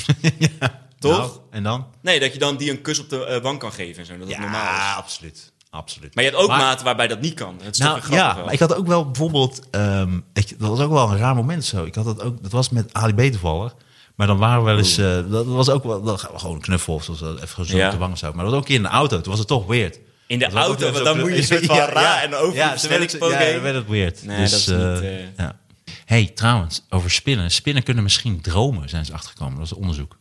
S2: Toch?
S3: Nou, en dan?
S2: Nee, dat je dan die een kus op de eh, wang kan geven en zo. Dat het normaal is.
S3: absoluut. absoluut.
S2: Maar je hebt ook
S3: Maar-
S2: maten waarbij dat niet kan. Dat is
S3: Nou
S2: toch wel
S3: ja,
S2: grappig
S3: maar
S2: wel.
S3: ik had ook wel bijvoorbeeld... ehm, ik, dat was ook wel een raar moment zo. Ik had dat ook... Dat was met Ali B toevallig. Maar dan waren we wel eens... eh, dat was ook wel... Dat, gewoon een knuffel of zo. Even gezoend
S2: Ja.
S3: op de wang of zo. Maar dat was ook een keer in de auto. Toen was het toch weird.
S2: In de
S3: Dat was ook
S2: auto,
S3: weer
S2: want
S3: zo'n
S2: dan
S3: kleur- <laughs>
S2: moet je soort van raar en over
S3: ja,
S2: een
S3: toen werd het-
S2: versnellingspook
S3: Ja,
S2: heen.
S3: dan werd het weird.
S2: Nee,
S3: dus,
S2: dat is
S3: eh,
S2: niet, eh.
S3: ja. hey, trouwens, over spinnen. Spinnen kunnen misschien dromen, zijn ze achtergekomen. Dat is onderzoek.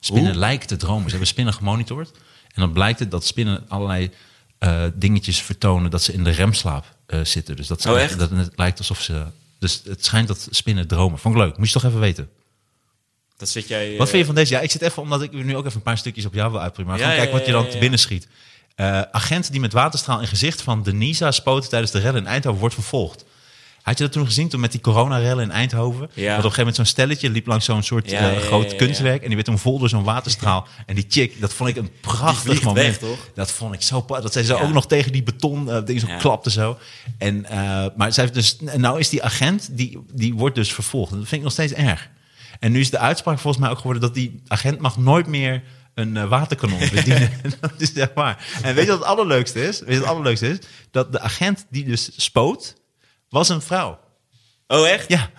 S3: Spinnen lijken te dromen. Ze hebben spinnen gemonitord. En dan blijkt het dat spinnen allerlei eh, dingetjes vertonen dat ze in de remslaap eh, zitten. Dus dat, ze
S2: Oh,
S3: echt-
S2: echt?
S3: dat het lijkt alsof ze... Dus het schijnt dat spinnen dromen. Vond ik leuk. Moest je toch even weten.
S2: Dat zit jij... eh,
S3: Wat vind je van deze? Ja, ik zit even omdat ik nu ook even een paar stukjes op jou wil uitprimen. Maar
S2: Ja,
S3: gewoon
S2: ja,
S3: kijk wat je
S2: ja,
S3: dan
S2: ja,
S3: te
S2: ja.
S3: binnen schiet. Eh, agent die met waterstraal in gezicht van Denisa spoten tijdens de rellen in Eindhoven wordt vervolgd. Had je dat toen gezien, toen met die coronarellen in Eindhoven?
S2: Ja.
S3: Dat op een gegeven moment zo'n stelletje liep langs zo'n soort
S2: Ja,
S3: eh,
S2: ja, ja,
S3: groot
S2: ja, ja.
S3: kunstwerk. En die werd toen vol door zo'n waterstraal. en die chick, dat vond ik een prachtig
S2: vliegt
S3: moment.
S2: weg, toch?
S3: Dat vond ik zo... pa- Dat zij zo
S2: Ja.
S3: ook nog tegen die beton eh ding zo
S2: Ja.
S3: klapte zo. En, eh, maar zij heeft dus, en nou is die agent, die, die wordt dus vervolgd. En dat vind ik nog steeds erg. En nu is de uitspraak volgens mij ook geworden dat die agent mag nooit meer een eh,
S2: <laughs>
S3: waterkanon bedienen. <laughs> dat is echt waar. En weet je wat het allerleukste is? Weet je wat het allerleukste is? Dat de agent die dus spoot, was een vrouw.
S2: Oh, echt?
S3: Ja,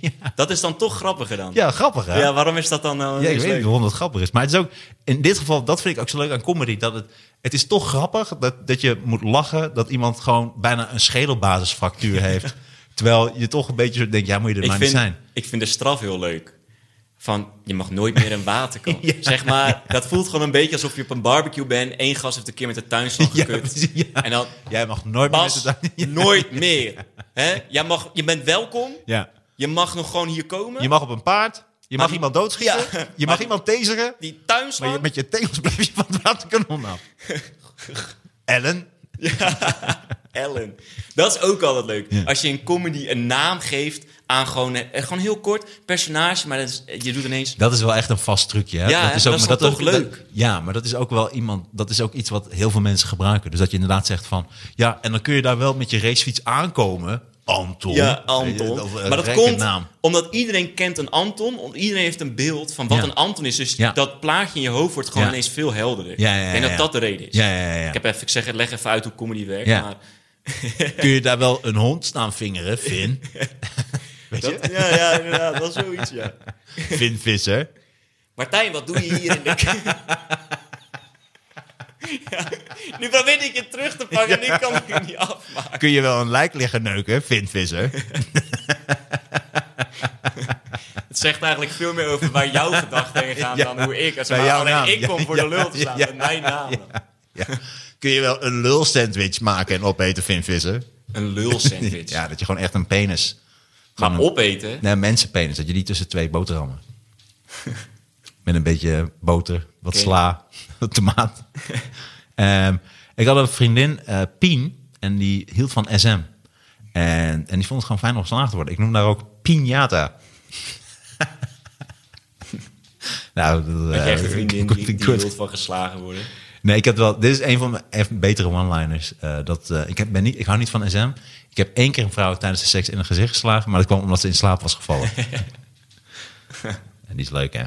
S3: ja.
S2: Dat is dan toch grappiger dan?
S3: <laughs> ja grappig hè?
S2: Ja, waarom is dat dan... eh,
S3: Ja,
S2: is
S3: ik weet
S2: leuk?
S3: niet waarom dat grappig is. Maar het is ook, in dit geval, dat vind ik ook zo leuk aan comedy. Dat het, het is toch grappig dat, dat je moet lachen dat iemand gewoon bijna een schedelbasisfractuur heeft. Terwijl je toch een beetje zo denkt, ja, moet je er maar
S2: vind,
S3: niet zijn.
S2: Ik vind de straf heel leuk. Van, je mag nooit meer een
S3: <laughs>
S2: waterkant. Zeg maar, dat voelt gewoon een beetje alsof je op een barbecue bent. Eén gast heeft een keer met de tuinslag
S3: <laughs> Ja,
S2: gekut.
S3: precies, ja.
S2: En dan,
S3: <laughs> Jij mag nooit meer
S2: Bas,
S3: met het- <laughs> Ja.
S2: nooit meer. Hè? Jij mag, je bent welkom.
S3: Ja.
S2: Je mag nog gewoon hier komen.
S3: Je mag op een paard, je mag
S2: die-
S3: iemand doodschieten,
S2: Ja.
S3: je mag iemand taseren.
S2: Die
S3: Maar
S2: tuinslag.
S3: je, met
S2: <laughs>
S3: je tegels blijf je van het waterkanon af. Ellen.
S2: Ellen. Dat is ook altijd leuk. Als je in comedy een naam geeft aan gewoon, eh, gewoon heel kort personage, maar dat is, eh, je doet ineens.
S3: Dat is wel echt een vast trucje. Hè?
S2: Ja,
S3: dat
S2: hè,
S3: is
S2: dat
S3: ook,
S2: is
S3: maar
S2: dan toch
S3: dat-
S2: leuk?
S3: ja, maar dat is ook wel iemand. Dat is ook iets wat heel veel mensen gebruiken. Dus dat je inderdaad zegt van. Ja, en dan kun je daar wel met je racefiets aankomen. Anton.
S2: Ja,
S3: Weet
S2: Anton.
S3: je, of een
S2: maar dat
S3: gekke
S2: komt
S3: Naam.
S2: omdat iedereen kent een Anton. om- Iedereen heeft een beeld van wat
S3: Ja.
S2: een Anton is. Dus
S3: Ja.
S2: dat plaatje in je hoofd wordt gewoon
S3: Ja.
S2: ineens veel helderder.
S3: Ja, ja, ja,
S2: ik denk dat
S3: ja.
S2: dat de reden is.
S3: Ja, ja, ja. ja.
S2: Ik, heb even, ik zeg, het, leg even uit hoe comedy werkt.
S3: Ja.
S2: Maar
S3: Kun je daar wel een hond staan
S2: <laughs>
S3: vingeren? Vin. Weet je?
S2: dat, ja, ja, inderdaad. Dat is zoiets, ja.
S3: Vin Visser.
S2: Martijn, wat doe je hier
S3: <laughs>
S2: in de keuken? Ja, nu probeer ik je terug te pakken en ik kan het niet afmaken.
S3: Kun je wel een lijk liggen neuken? Vin Visser.
S2: Het zegt eigenlijk veel meer over waar jouw gedachten heen gaan
S3: <laughs> Ja.
S2: dan hoe ik. Als
S3: Bij
S2: maar
S3: jouw
S2: alleen
S3: naam.
S2: ik kom
S3: Ja,
S2: voor
S3: ja,
S2: de lul te staan
S3: ja,
S2: met mijn naam.
S3: Ja. Kun je wel een lul sandwich maken en opeten, Vin Visser?
S2: Een lul sandwich.
S3: Ja, dat je gewoon echt een penis.
S2: maar
S3: Gewoon een-
S2: opeten?
S3: Nee, mensenpenis. Dat je die tussen twee
S2: <laughs>
S3: boterhammen. Met een beetje boter, wat
S2: Oké.
S3: sla,
S2: <laughs>
S3: wat tomaat. Ehm, ik had een vriendin, eh, Pien, en die hield van SM. En, en die vond het gewoon fijn om geslaagd te worden. Ik noem daar ook
S2: <laughs>
S3: Pinata. nou, dat,
S2: Had je echt
S3: eh,
S2: een vriendin
S3: <laughs> komt-
S2: die, die
S3: komt-
S2: wild van geslagen worden?
S3: Nee, ik had wel. Dit is een van mijn echt betere one-liners. Eh, dat eh, ik heb, ben niet, ik hou niet van SM. Ik heb één keer een vrouw tijdens de seks in een gezicht geslagen, maar dat kwam omdat ze in slaap was
S2: <laughs>
S3: gevallen. en die is leuk, hè?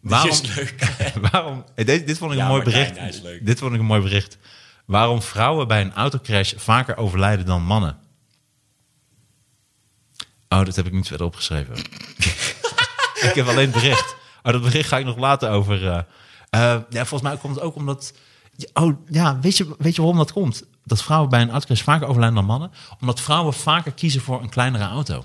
S3: Waarom?
S2: is leuk,
S3: <laughs> waarom? eh, Dit, dit vond ik
S2: Ja,
S3: een mooi
S2: Martijn,
S3: bericht.
S2: hij is leuk.
S3: Dit vond ik een mooi bericht. Waarom vrouwen bij een autocrash vaker overlijden dan mannen? Oh, dat heb ik niet verder opgeschreven. <laughs> ik heb alleen het bericht. Oh, dat bericht ga ik nog later over. eh. Eh, ja, volgens mij komt het ook omdat. Oh, ja, weet je, weet je waarom dat komt? Dat vrouwen bij een autocrash vaker overlijden dan mannen? Omdat vrouwen vaker kiezen voor een kleinere auto.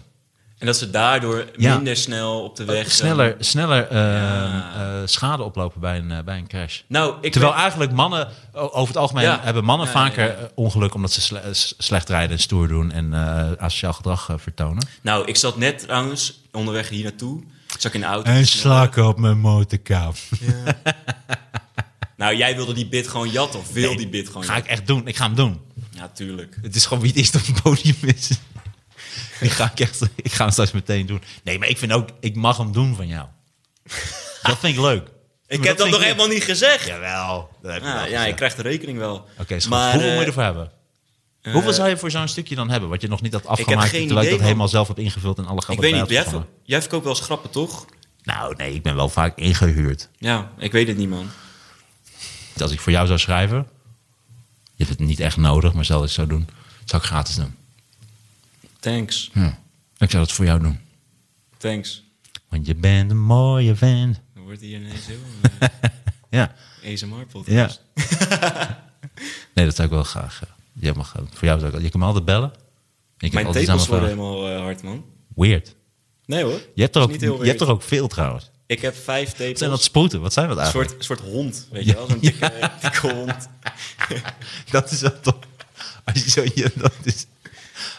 S2: En dat ze daardoor
S3: Ja. Oh,
S2: minder snel op de weg zijn.
S3: Sneller, sneller eh, eh, schade oplopen bij een, eh, bij een crash.
S2: Nou, ik
S3: Terwijl
S2: ben-
S3: eigenlijk mannen, o- over het algemeen,
S2: Ja.
S3: hebben mannen
S2: Ja,
S3: vaker
S2: ja, ja.
S3: eh, ongeluk omdat ze sle- eh, s- slecht rijden en stoer doen en eh, asociaal gedrag eh, vertonen.
S2: nou, ik zat net trouwens onderweg hier naartoe. Zat ik in de auto.
S3: En slakken op mijn motorkap.
S2: Nou, jij wilde die bit gewoon jatten of wil <laughs> die bit gewoon
S3: Ga ik
S2: jatten?
S3: echt doen. Ik ga hem doen.
S2: Ja, tuurlijk.
S3: Het is gewoon wie het eerst op het podium
S2: <laughs>
S3: is. Die ga ik echt, ik ga hem straks meteen doen. Nee, maar ik vind ook, ik mag hem doen van
S2: <laughs>
S3: jou. Dat vind ik leuk.
S2: Ik heb dat nog helemaal niet gezegd. Ja,
S3: Jawel. Dat heb ik wel
S2: ja,
S3: gezegd.
S2: ik krijg de rekening wel.
S3: Oké, is goed.
S2: maar
S3: hoeveel
S2: eh,
S3: moet je ervoor hebben? hoeveel zou je voor zo'n stukje dan hebben? Wat je nog niet had
S2: heb
S3: afgemaakt,
S2: geen
S3: terwijl ik
S2: idee,
S3: dat
S2: man.
S3: helemaal zelf heb ingevuld en alle
S2: ik
S3: grappen
S2: weet niet.
S3: erbij
S2: Jij,
S3: had verzonnen.
S2: verko- jij verkoopt wel eens grappen, toch?
S3: Nou, nee, ik ben wel vaak ingehuurd. Dus
S2: Ja, ik weet het niet, man.
S3: Als ik voor jou zou schrijven, je hebt het niet echt nodig, maar zal ik zo doen, zou ik gratis doen.
S2: Thanks.
S3: Ja. Ik zou dat voor jou doen.
S2: Thanks.
S3: Want je bent een mooie vent. <laughs>
S2: Dan wordt hier ineens heel
S3: Ja,
S2: eh,
S3: ja.
S2: ASMR-podcast.
S3: nee, dat zou ik wel graag. eh, Je mag, eh, voor jou zou ik, je kan me altijd bellen. Ik heb
S2: Mijn
S3: altijd iets aan
S2: tepels
S3: mijn
S2: worden helemaal eh, hard, man.
S3: vragen. Weird.
S2: Nee hoor.
S3: Je hebt,
S2: Dat
S3: er ook,
S2: is niet
S3: je
S2: heel
S3: hebt
S2: weird.
S3: er ook veel trouwens. Wat
S2: Ik heb vijf tepels.
S3: zijn dat sproeten? Wat zijn dat
S2: Een
S3: eigenlijk?
S2: soort, soort hond, weet je wel?
S3: <laughs>
S2: Zo'n dikke, dikke hond.
S3: Dat is wel toch. Als je zo je, dat is.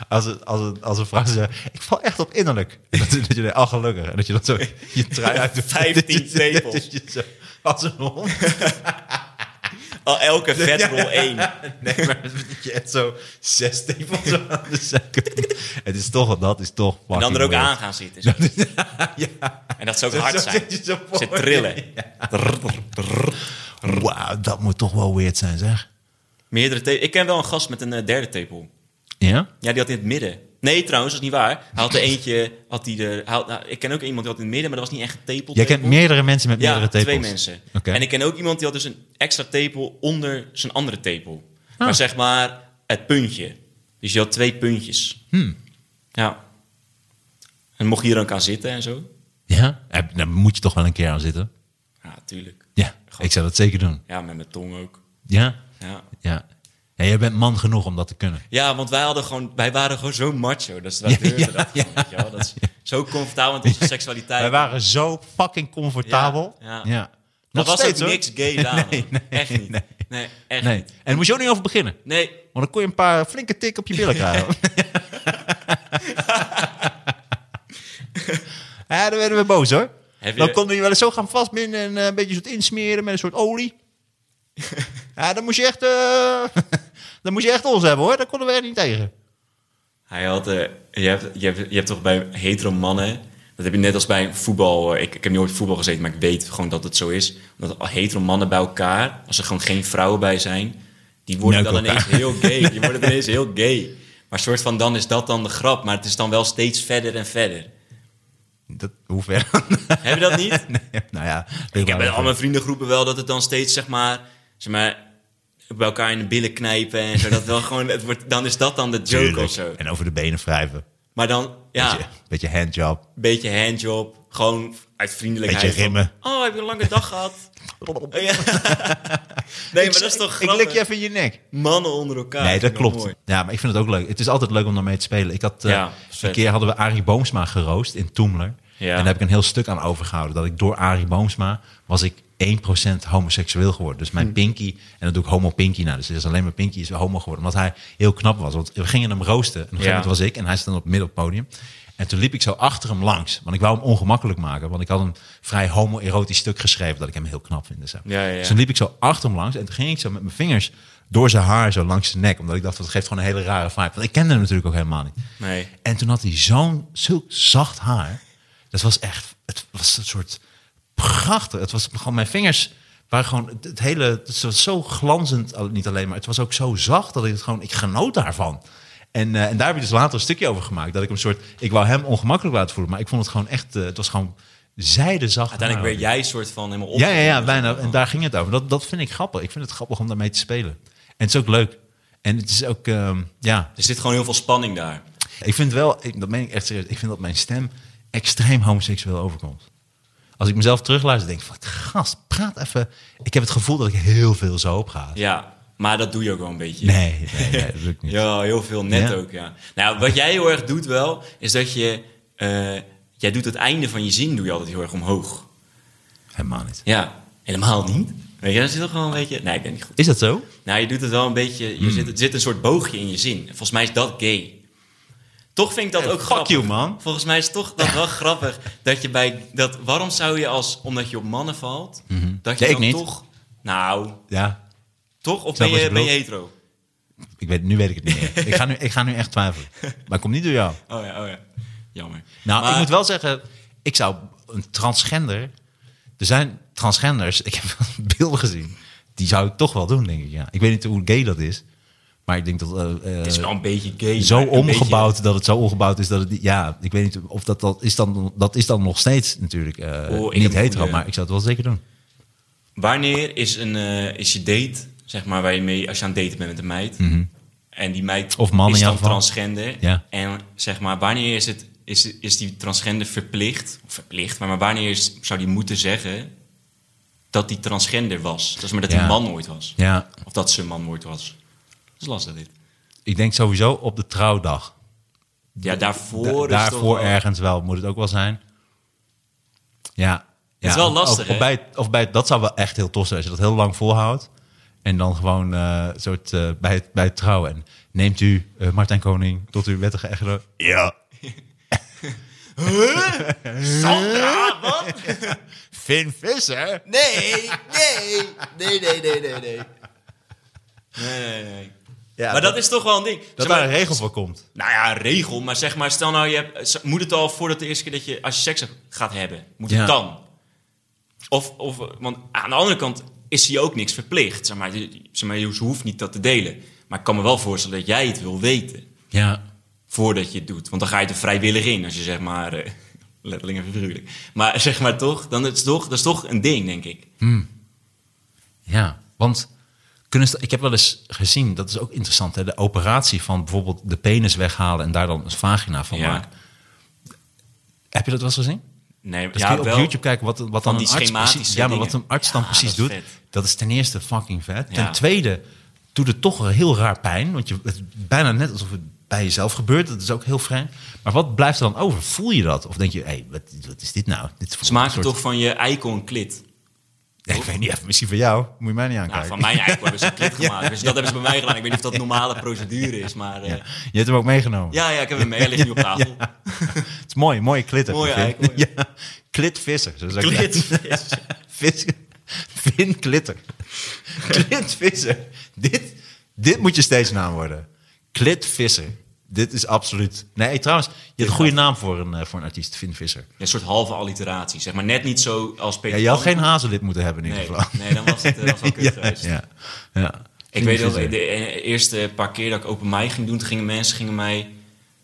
S3: Als, het, als, het, als een vrouw zegt, ik val echt op innerlijk. <laughs> Dat, dat je denkt, oh gelukkig. En dat je dat zo je trui uit de
S2: <laughs> 15
S3: <laughs> dat je- dat
S2: tepels.
S3: je zo- Als een hond. <laughs>
S2: Al elke vetrol één.
S3: Nee, maar dat je echt zo zes tepels <laughs> aan de zijkant. Het is toch, dat is toch
S2: En dan er ook aan
S3: weird.
S2: gaan zitten.
S3: <laughs>
S2: zo. En dat zou ook hard
S3: Zo <laughs>
S2: zijn.
S3: zit je zo voor
S2: Ze
S3: je.
S2: trillen.
S3: Wauw, dat moet toch wel weird zijn zeg.
S2: Meerdere te- Ik ken wel een gast met een eh, derde tepel.
S3: Ja?
S2: Ja, die had in het midden. Nee, trouwens, dat is niet waar. Hij had er eentje, had die er... hij had- nou, ik ken ook iemand die had in het midden, maar dat was niet echt een tepel.
S3: Jij kent
S2: tepel.
S3: meerdere mensen met meerdere
S2: Ja,
S3: tepels.
S2: twee mensen.
S3: Oké.
S2: En ik ken ook iemand die had dus een extra tepel onder zijn andere tepel.
S3: Ah.
S2: Maar zeg maar het puntje. Dus je had twee puntjes.
S3: Hmm.
S2: Ja. En mocht je er ook aan zitten en zo?
S3: Ja? Eh, Daar moet je toch wel een keer aan zitten.
S2: Ja, tuurlijk.
S3: Ja, ik zou dat zeker doen.
S2: Ja, met mijn tong ook.
S3: Ja?
S2: Ja.
S3: Ja. ja. Jij bent man genoeg om dat te kunnen.
S2: Ja, want wij, hadden gewoon, wij waren gewoon zo macho. Dat ze dat durfden. dat, gewoon, weet je wel. dat is zo comfortabel met onze seksualiteit.
S3: Wij waren zo fucking comfortabel.
S2: Ja, ja.
S3: Nog
S2: dat was
S3: steeds,
S2: ook
S3: hoor.
S2: niks gay daar.
S3: <laughs> Nee,
S2: man. echt niet. Nee,
S3: nee.
S2: echt
S3: Nee.
S2: niet.
S3: En daar moest je ook niet over beginnen.
S2: Nee,
S3: Want dan kon je een paar flinke tik op je <laughs> billen krijgen. ja, dan werden we boos hoor.
S2: Heb
S3: Dan
S2: je-
S3: konden je wel eens zo gaan vastbinden
S2: <laughs>
S3: en eh, <laughs> een beetje soort insmeren met een soort olie. ja, dan moest je echt... eh, Dan moest je echt ons hebben hoor, daar konden we echt niet tegen.
S2: Hij had, eh, je, hebt, je, hebt, je hebt toch bij hetero mannen, dat heb je net als bij voetbal. eh, ik, ik heb nooit voetbal gezeten, maar ik weet gewoon dat het zo is. Dat hetero mannen bij elkaar, als er gewoon geen vrouwen bij zijn, die worden
S3: Neuken
S2: dan ineens
S3: elkaar.
S2: heel gay. Die worden
S3: <laughs>
S2: dan ineens heel gay. Maar soort van dan is dat dan de grap, maar het is dan wel steeds verder en verder.
S3: Dat, hoe ver?
S2: Heb je dat niet?
S3: <laughs> nee, nou ja.
S2: Ik heb bij al mijn vriendengroepen wel dat het dan steeds, zeg maar, zeg maar bij elkaar in de billen knijpen en zo. Dat wel gewoon, het wordt, dan is dat dan de joke
S3: Tuurlijk.
S2: of zo.
S3: En over de benen wrijven.
S2: Maar dan, ja.
S3: Beetje, beetje handjob.
S2: beetje handjob, gewoon uit vriendelijkheid.
S3: Beetje rimmen.
S2: Van, oh, heb je een lange dag
S3: <laughs>
S2: gehad? Oh, ja. nee, maar dat is toch
S3: Ik
S2: grappig.
S3: lik je even in je nek.
S2: Mannen onder elkaar.
S3: nee, dat
S2: Vind ik wel
S3: klopt.
S2: mooi.
S3: Ja, maar ik vind het ook leuk. Het is altijd leuk om daarmee te spelen. Ik had, eh,
S2: Ja,
S3: een
S2: vet.
S3: keer hadden we Arie Boomsma geroost in Toemler.
S2: Ja.
S3: En daar heb ik een heel stuk aan overgehouden. Dat ik door Arie Boomsma was ik 1% homoseksueel geworden. Dus
S2: Hm.
S3: mijn Pinky, en dat doe ik homo Pinky nou. Dus het is alleen maar Pinky is homo geworden. Omdat hij heel knap was. Want we gingen hem roosten. En op een gegeven
S2: Ja.
S3: moment was ik en hij stond op het midden op het podium. En toen liep ik zo achter hem langs. Want ik wou hem ongemakkelijk maken. Want ik had een vrij homoerotisch stuk geschreven. Dat ik hem heel knap vind. en zo.
S2: Ja, ja, ja.
S3: Dus toen liep ik zo achter hem langs en toen ging ik zo met mijn vingers door zijn haar zo langs zijn nek. Omdat ik dacht, dat geeft gewoon een hele rare vibe. Want ik kende hem natuurlijk ook helemaal niet.
S2: Nee.
S3: En toen had hij zo'n zulk zacht haar. Dat was echt, het was een soort prachtig. Het was gewoon, mijn vingers waren gewoon, het, het hele, het was zo glanzend, al- niet alleen maar. Het was ook zo zacht dat ik het gewoon, ik genoot daarvan. En, eh, en daar heb ik dus later een stukje over gemaakt. Dat ik hem soort, ik wou hem ongemakkelijk laten voelen. Maar ik vond het gewoon echt, eh, het was gewoon zijdezacht.
S2: Uiteindelijk
S3: haar.
S2: werd jij soort van helemaal op.
S3: Ja, ja, ja, bijna. En daar ging het over. Dat, dat vind ik grappig. Ik vind het grappig om daarmee te spelen. En het is ook leuk. En het is ook, ehm, ja.
S2: Er zit gewoon heel veel spanning daar.
S3: Ik vind wel, ik, dat meen ik echt serieus, ik vind dat mijn stem extreem homoseksueel overkomt. Als ik mezelf terugluister, denk ik van, gast, praat even. Ik heb het gevoel dat ik heel veel zo op ga.
S2: Ja, maar dat doe je ook wel een beetje.
S3: Nee, nee, nee, dat doe ik niet.
S2: Ja, heel veel net
S3: Ja.
S2: ook, ja. Nou, wat jij heel erg doet wel, is dat je... eh, jij doet het einde van je zin doe je altijd heel erg omhoog.
S3: Helemaal niet.
S2: Ja, helemaal niet. Weet je, dat zit toch wel een beetje... Nee, ik ben niet goed.
S3: Is dat zo?
S2: Nou, je doet het wel een beetje.
S3: Hmm.
S2: Je zit, er zit een soort boogje in je zin. Volgens mij is dat gay. Toch vind ik dat
S3: Eh,
S2: ook
S3: fuck
S2: grappig.
S3: you, man.
S2: Volgens mij is toch dat
S3: <laughs>
S2: wel grappig dat je bij dat. Waarom zou je als omdat je op mannen valt, dat je
S3: Mhm. Nee, ik
S2: dan
S3: niet.
S2: toch? Nou,
S3: Ja,
S2: toch? Of
S3: snap
S2: ben
S3: wat
S2: je,
S3: je
S2: ben je
S3: bedoelt.
S2: hetero?
S3: ik weet, nu weet ik het niet meer. ik, ga nu, ik ga nu echt twijfelen. Maar ik kom niet door jou.
S2: Oh ja, oh ja. Jammer.
S3: Nou,
S2: Maar-
S3: ik moet wel zeggen, ik zou een transgender. Er zijn transgenders, ik heb wel <laughs> beelden gezien. Die zou ik toch wel doen, denk ik. Ja. Ik weet niet hoe gay dat is. Maar ik denk dat. eh, eh,
S2: het is wel een beetje gay.
S3: zo
S2: maar een
S3: omgebouwd dat het zo omgebouwd is dat het. niet- Ja, ik weet niet of dat, dat is dan. Dat is dan nog steeds natuurlijk. eh,
S2: Oh, ik
S3: niet
S2: heb een
S3: hetero,
S2: goeie.
S3: maar ik zou het wel zeker doen.
S2: beetje- wanneer is, een, eh, is je date, zeg maar, waar je mee, als je aan het daten bent met een meid, en die meid
S3: Mhm. Of man in
S2: is
S3: jouw
S2: dan
S3: geval.
S2: transgender,
S3: Ja.
S2: en zeg maar, wanneer is, het, is, is die transgender verplicht, of verplicht, maar, maar wanneer is- zou die moeten zeggen dat die transgender was? Dus maar dat
S3: Ja.
S2: die man nooit was.
S3: Ja,
S2: Of dat ze man nooit was. Dat is lastig dit.
S3: ik denk sowieso op de trouwdag.
S2: Ja, daarvoor
S3: Da-
S2: is toch
S3: daarvoor
S2: wel-
S3: ergens wel, moet het ook wel zijn. Ja. ja.
S2: is wel
S3: of-
S2: lastig,
S3: Of,
S2: hè?
S3: of, bij, het- of bij, het- dat zou wel echt heel tof zijn als je dat heel lang volhoudt. En dan gewoon eh, soort, eh, bij, het, bij het trouwen. En neemt u eh, Martijn Koning tot uw wettige echtgenoot? Ja.
S2: Sandra, wat?
S3: Finn Visser?
S2: Nee, nee, nee, nee, nee, nee, nee. Nee, nee, nee.
S3: Ja,
S2: maar dat, is toch wel een ding.
S3: Dat
S2: Zeg
S3: daar
S2: maar,
S3: een regel voor komt.
S2: Nou ja, een regel, maar zeg maar, stel nou, je hebt, z- moet het al voordat de eerste keer dat je, als je seks hebt- gaat hebben, moet
S3: Ja.
S2: het dan? Of, of, want aan de andere kant is hij ook niks verplicht. Zeg maar, je- zeg maar, je hoeft niet dat te delen. Maar ik kan me wel voorstellen dat jij het wil weten
S3: Ja.
S2: voordat je het doet. Want dan ga je er vrijwillig in, als je zeg maar, eh, <laughs> letterlijk en figuurlijk. Maar zeg maar toch, dan is het toch, dat is toch een ding, denk ik.
S3: Ja, want kunnen ze, ik heb wel eens gezien, dat is ook interessant, hè, de operatie van bijvoorbeeld de penis weghalen en daar dan een vagina van
S2: Ja.
S3: maken. Heb je dat wel eens gezien?
S2: Nee,
S3: Dus
S2: ja,
S3: kun je op
S2: wel.
S3: YouTube kijken wat, wat dan
S2: die
S3: een arts
S2: schematische
S3: precies, Ja, maar wat
S2: dingen.
S3: een arts dan
S2: Ja,
S3: precies
S2: dat
S3: doet,
S2: is vet.
S3: dat is ten eerste fucking vet.
S2: Ja.
S3: Ten tweede doet het toch heel raar pijn, want je, het is bijna net alsof het bij jezelf gebeurt. Dat is ook heel vreemd. Maar wat blijft er dan over? Voel je dat? Of denk je, hé, hey, wat, wat is dit nou? Dit voelt
S2: Ze maken
S3: een soort-
S2: toch van je eikel een klit.
S3: Nee, ik weet niet, even, misschien van jou. Moet je mij niet aankijken.
S2: Nou, van mijn eikel hebben ze een klit gemaakt. Dus dat hebben ze bij mij gedaan. Ik weet niet of dat normale procedure is, maar... eh,
S3: Ja. <laughs> Je hebt hem ook meegenomen.
S2: ja, ja, ik heb hem mee. Hij
S3: <laughs>
S2: ligt nu op tafel.
S3: Het is mooi, mooie klit. heb je,
S2: Mooie
S3: Vin.
S2: eikel, ja.
S3: <laughs> Ja. Klitvisser. Zo zou ik
S2: Klit.
S3: zeggen. Vis, Vin Klitter. Klitvisser. Dit Dit moet je steeds naam worden. Clit Visser. Dit is absoluut... Nee, trouwens, je hebt een goede naam voor een, eh, voor een artiest, Vin Visser.
S2: Een soort halve alliteratie, zeg maar. Net niet zo als
S3: Ja,
S2: Peter
S3: je had
S2: Pan.
S3: geen hazellid moeten hebben in
S2: Nee,
S3: ieder geval.
S2: nee, dan was het, eh, was wel kut
S3: <laughs> ja,
S2: geweest.
S3: Ja, ja.
S2: Ik weet wel, de eh, eerste paar keer dat ik open mic ging doen, toen gingen mensen gingen mij... Dat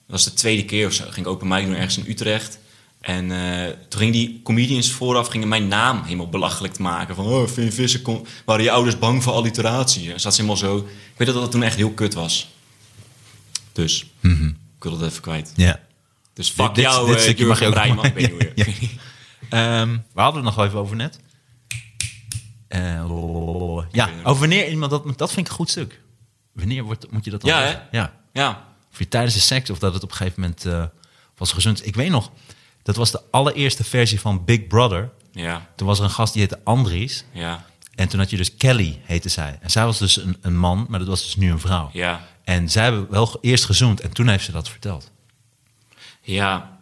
S2: was de tweede keer of zo. Ging ik open mic doen ergens in Utrecht. En eh, toen gingen die comedians vooraf gingen mijn naam helemaal belachelijk maken. Van, oh, Vin Visser, kon... waren je ouders bang voor alliteratie? En zat ze helemaal zo. Ik weet dat dat toen echt heel kut was. Dus,
S3: Mhm.
S2: ik wil dat even kwijt.
S3: Ja.
S2: Dus fuck
S3: Dit- dit-
S2: jou,
S3: dit
S2: eh,
S3: stukje mag je
S2: Jurgen
S3: ook <laughs>
S2: Breiman. Ik
S3: maken.
S2: weet niet hoe je- <laughs>
S3: Ehm, we hadden het nog wel even over net. Eh, lolololol. ja,
S2: weet het
S3: over wanneer iemand dat, dat vind ik een goed stuk. Wanneer wordt, moet je dat dan?
S2: Ja,
S3: zeggen? ja.
S2: Ja,
S3: Of je tijdens de seks of dat het op een gegeven moment eh, was gezond. Ik weet nog, dat was de allereerste versie van Big Brother.
S2: ja,
S3: Toen was er een gast die heette Andries.
S2: ja.
S3: En toen had je dus Kelly, heette zij. En zij was dus een, een man, maar dat was dus nu een vrouw.
S2: Ja.
S3: En zij hebben wel ge- eerst gezoend en toen heeft ze dat verteld.
S2: Ja.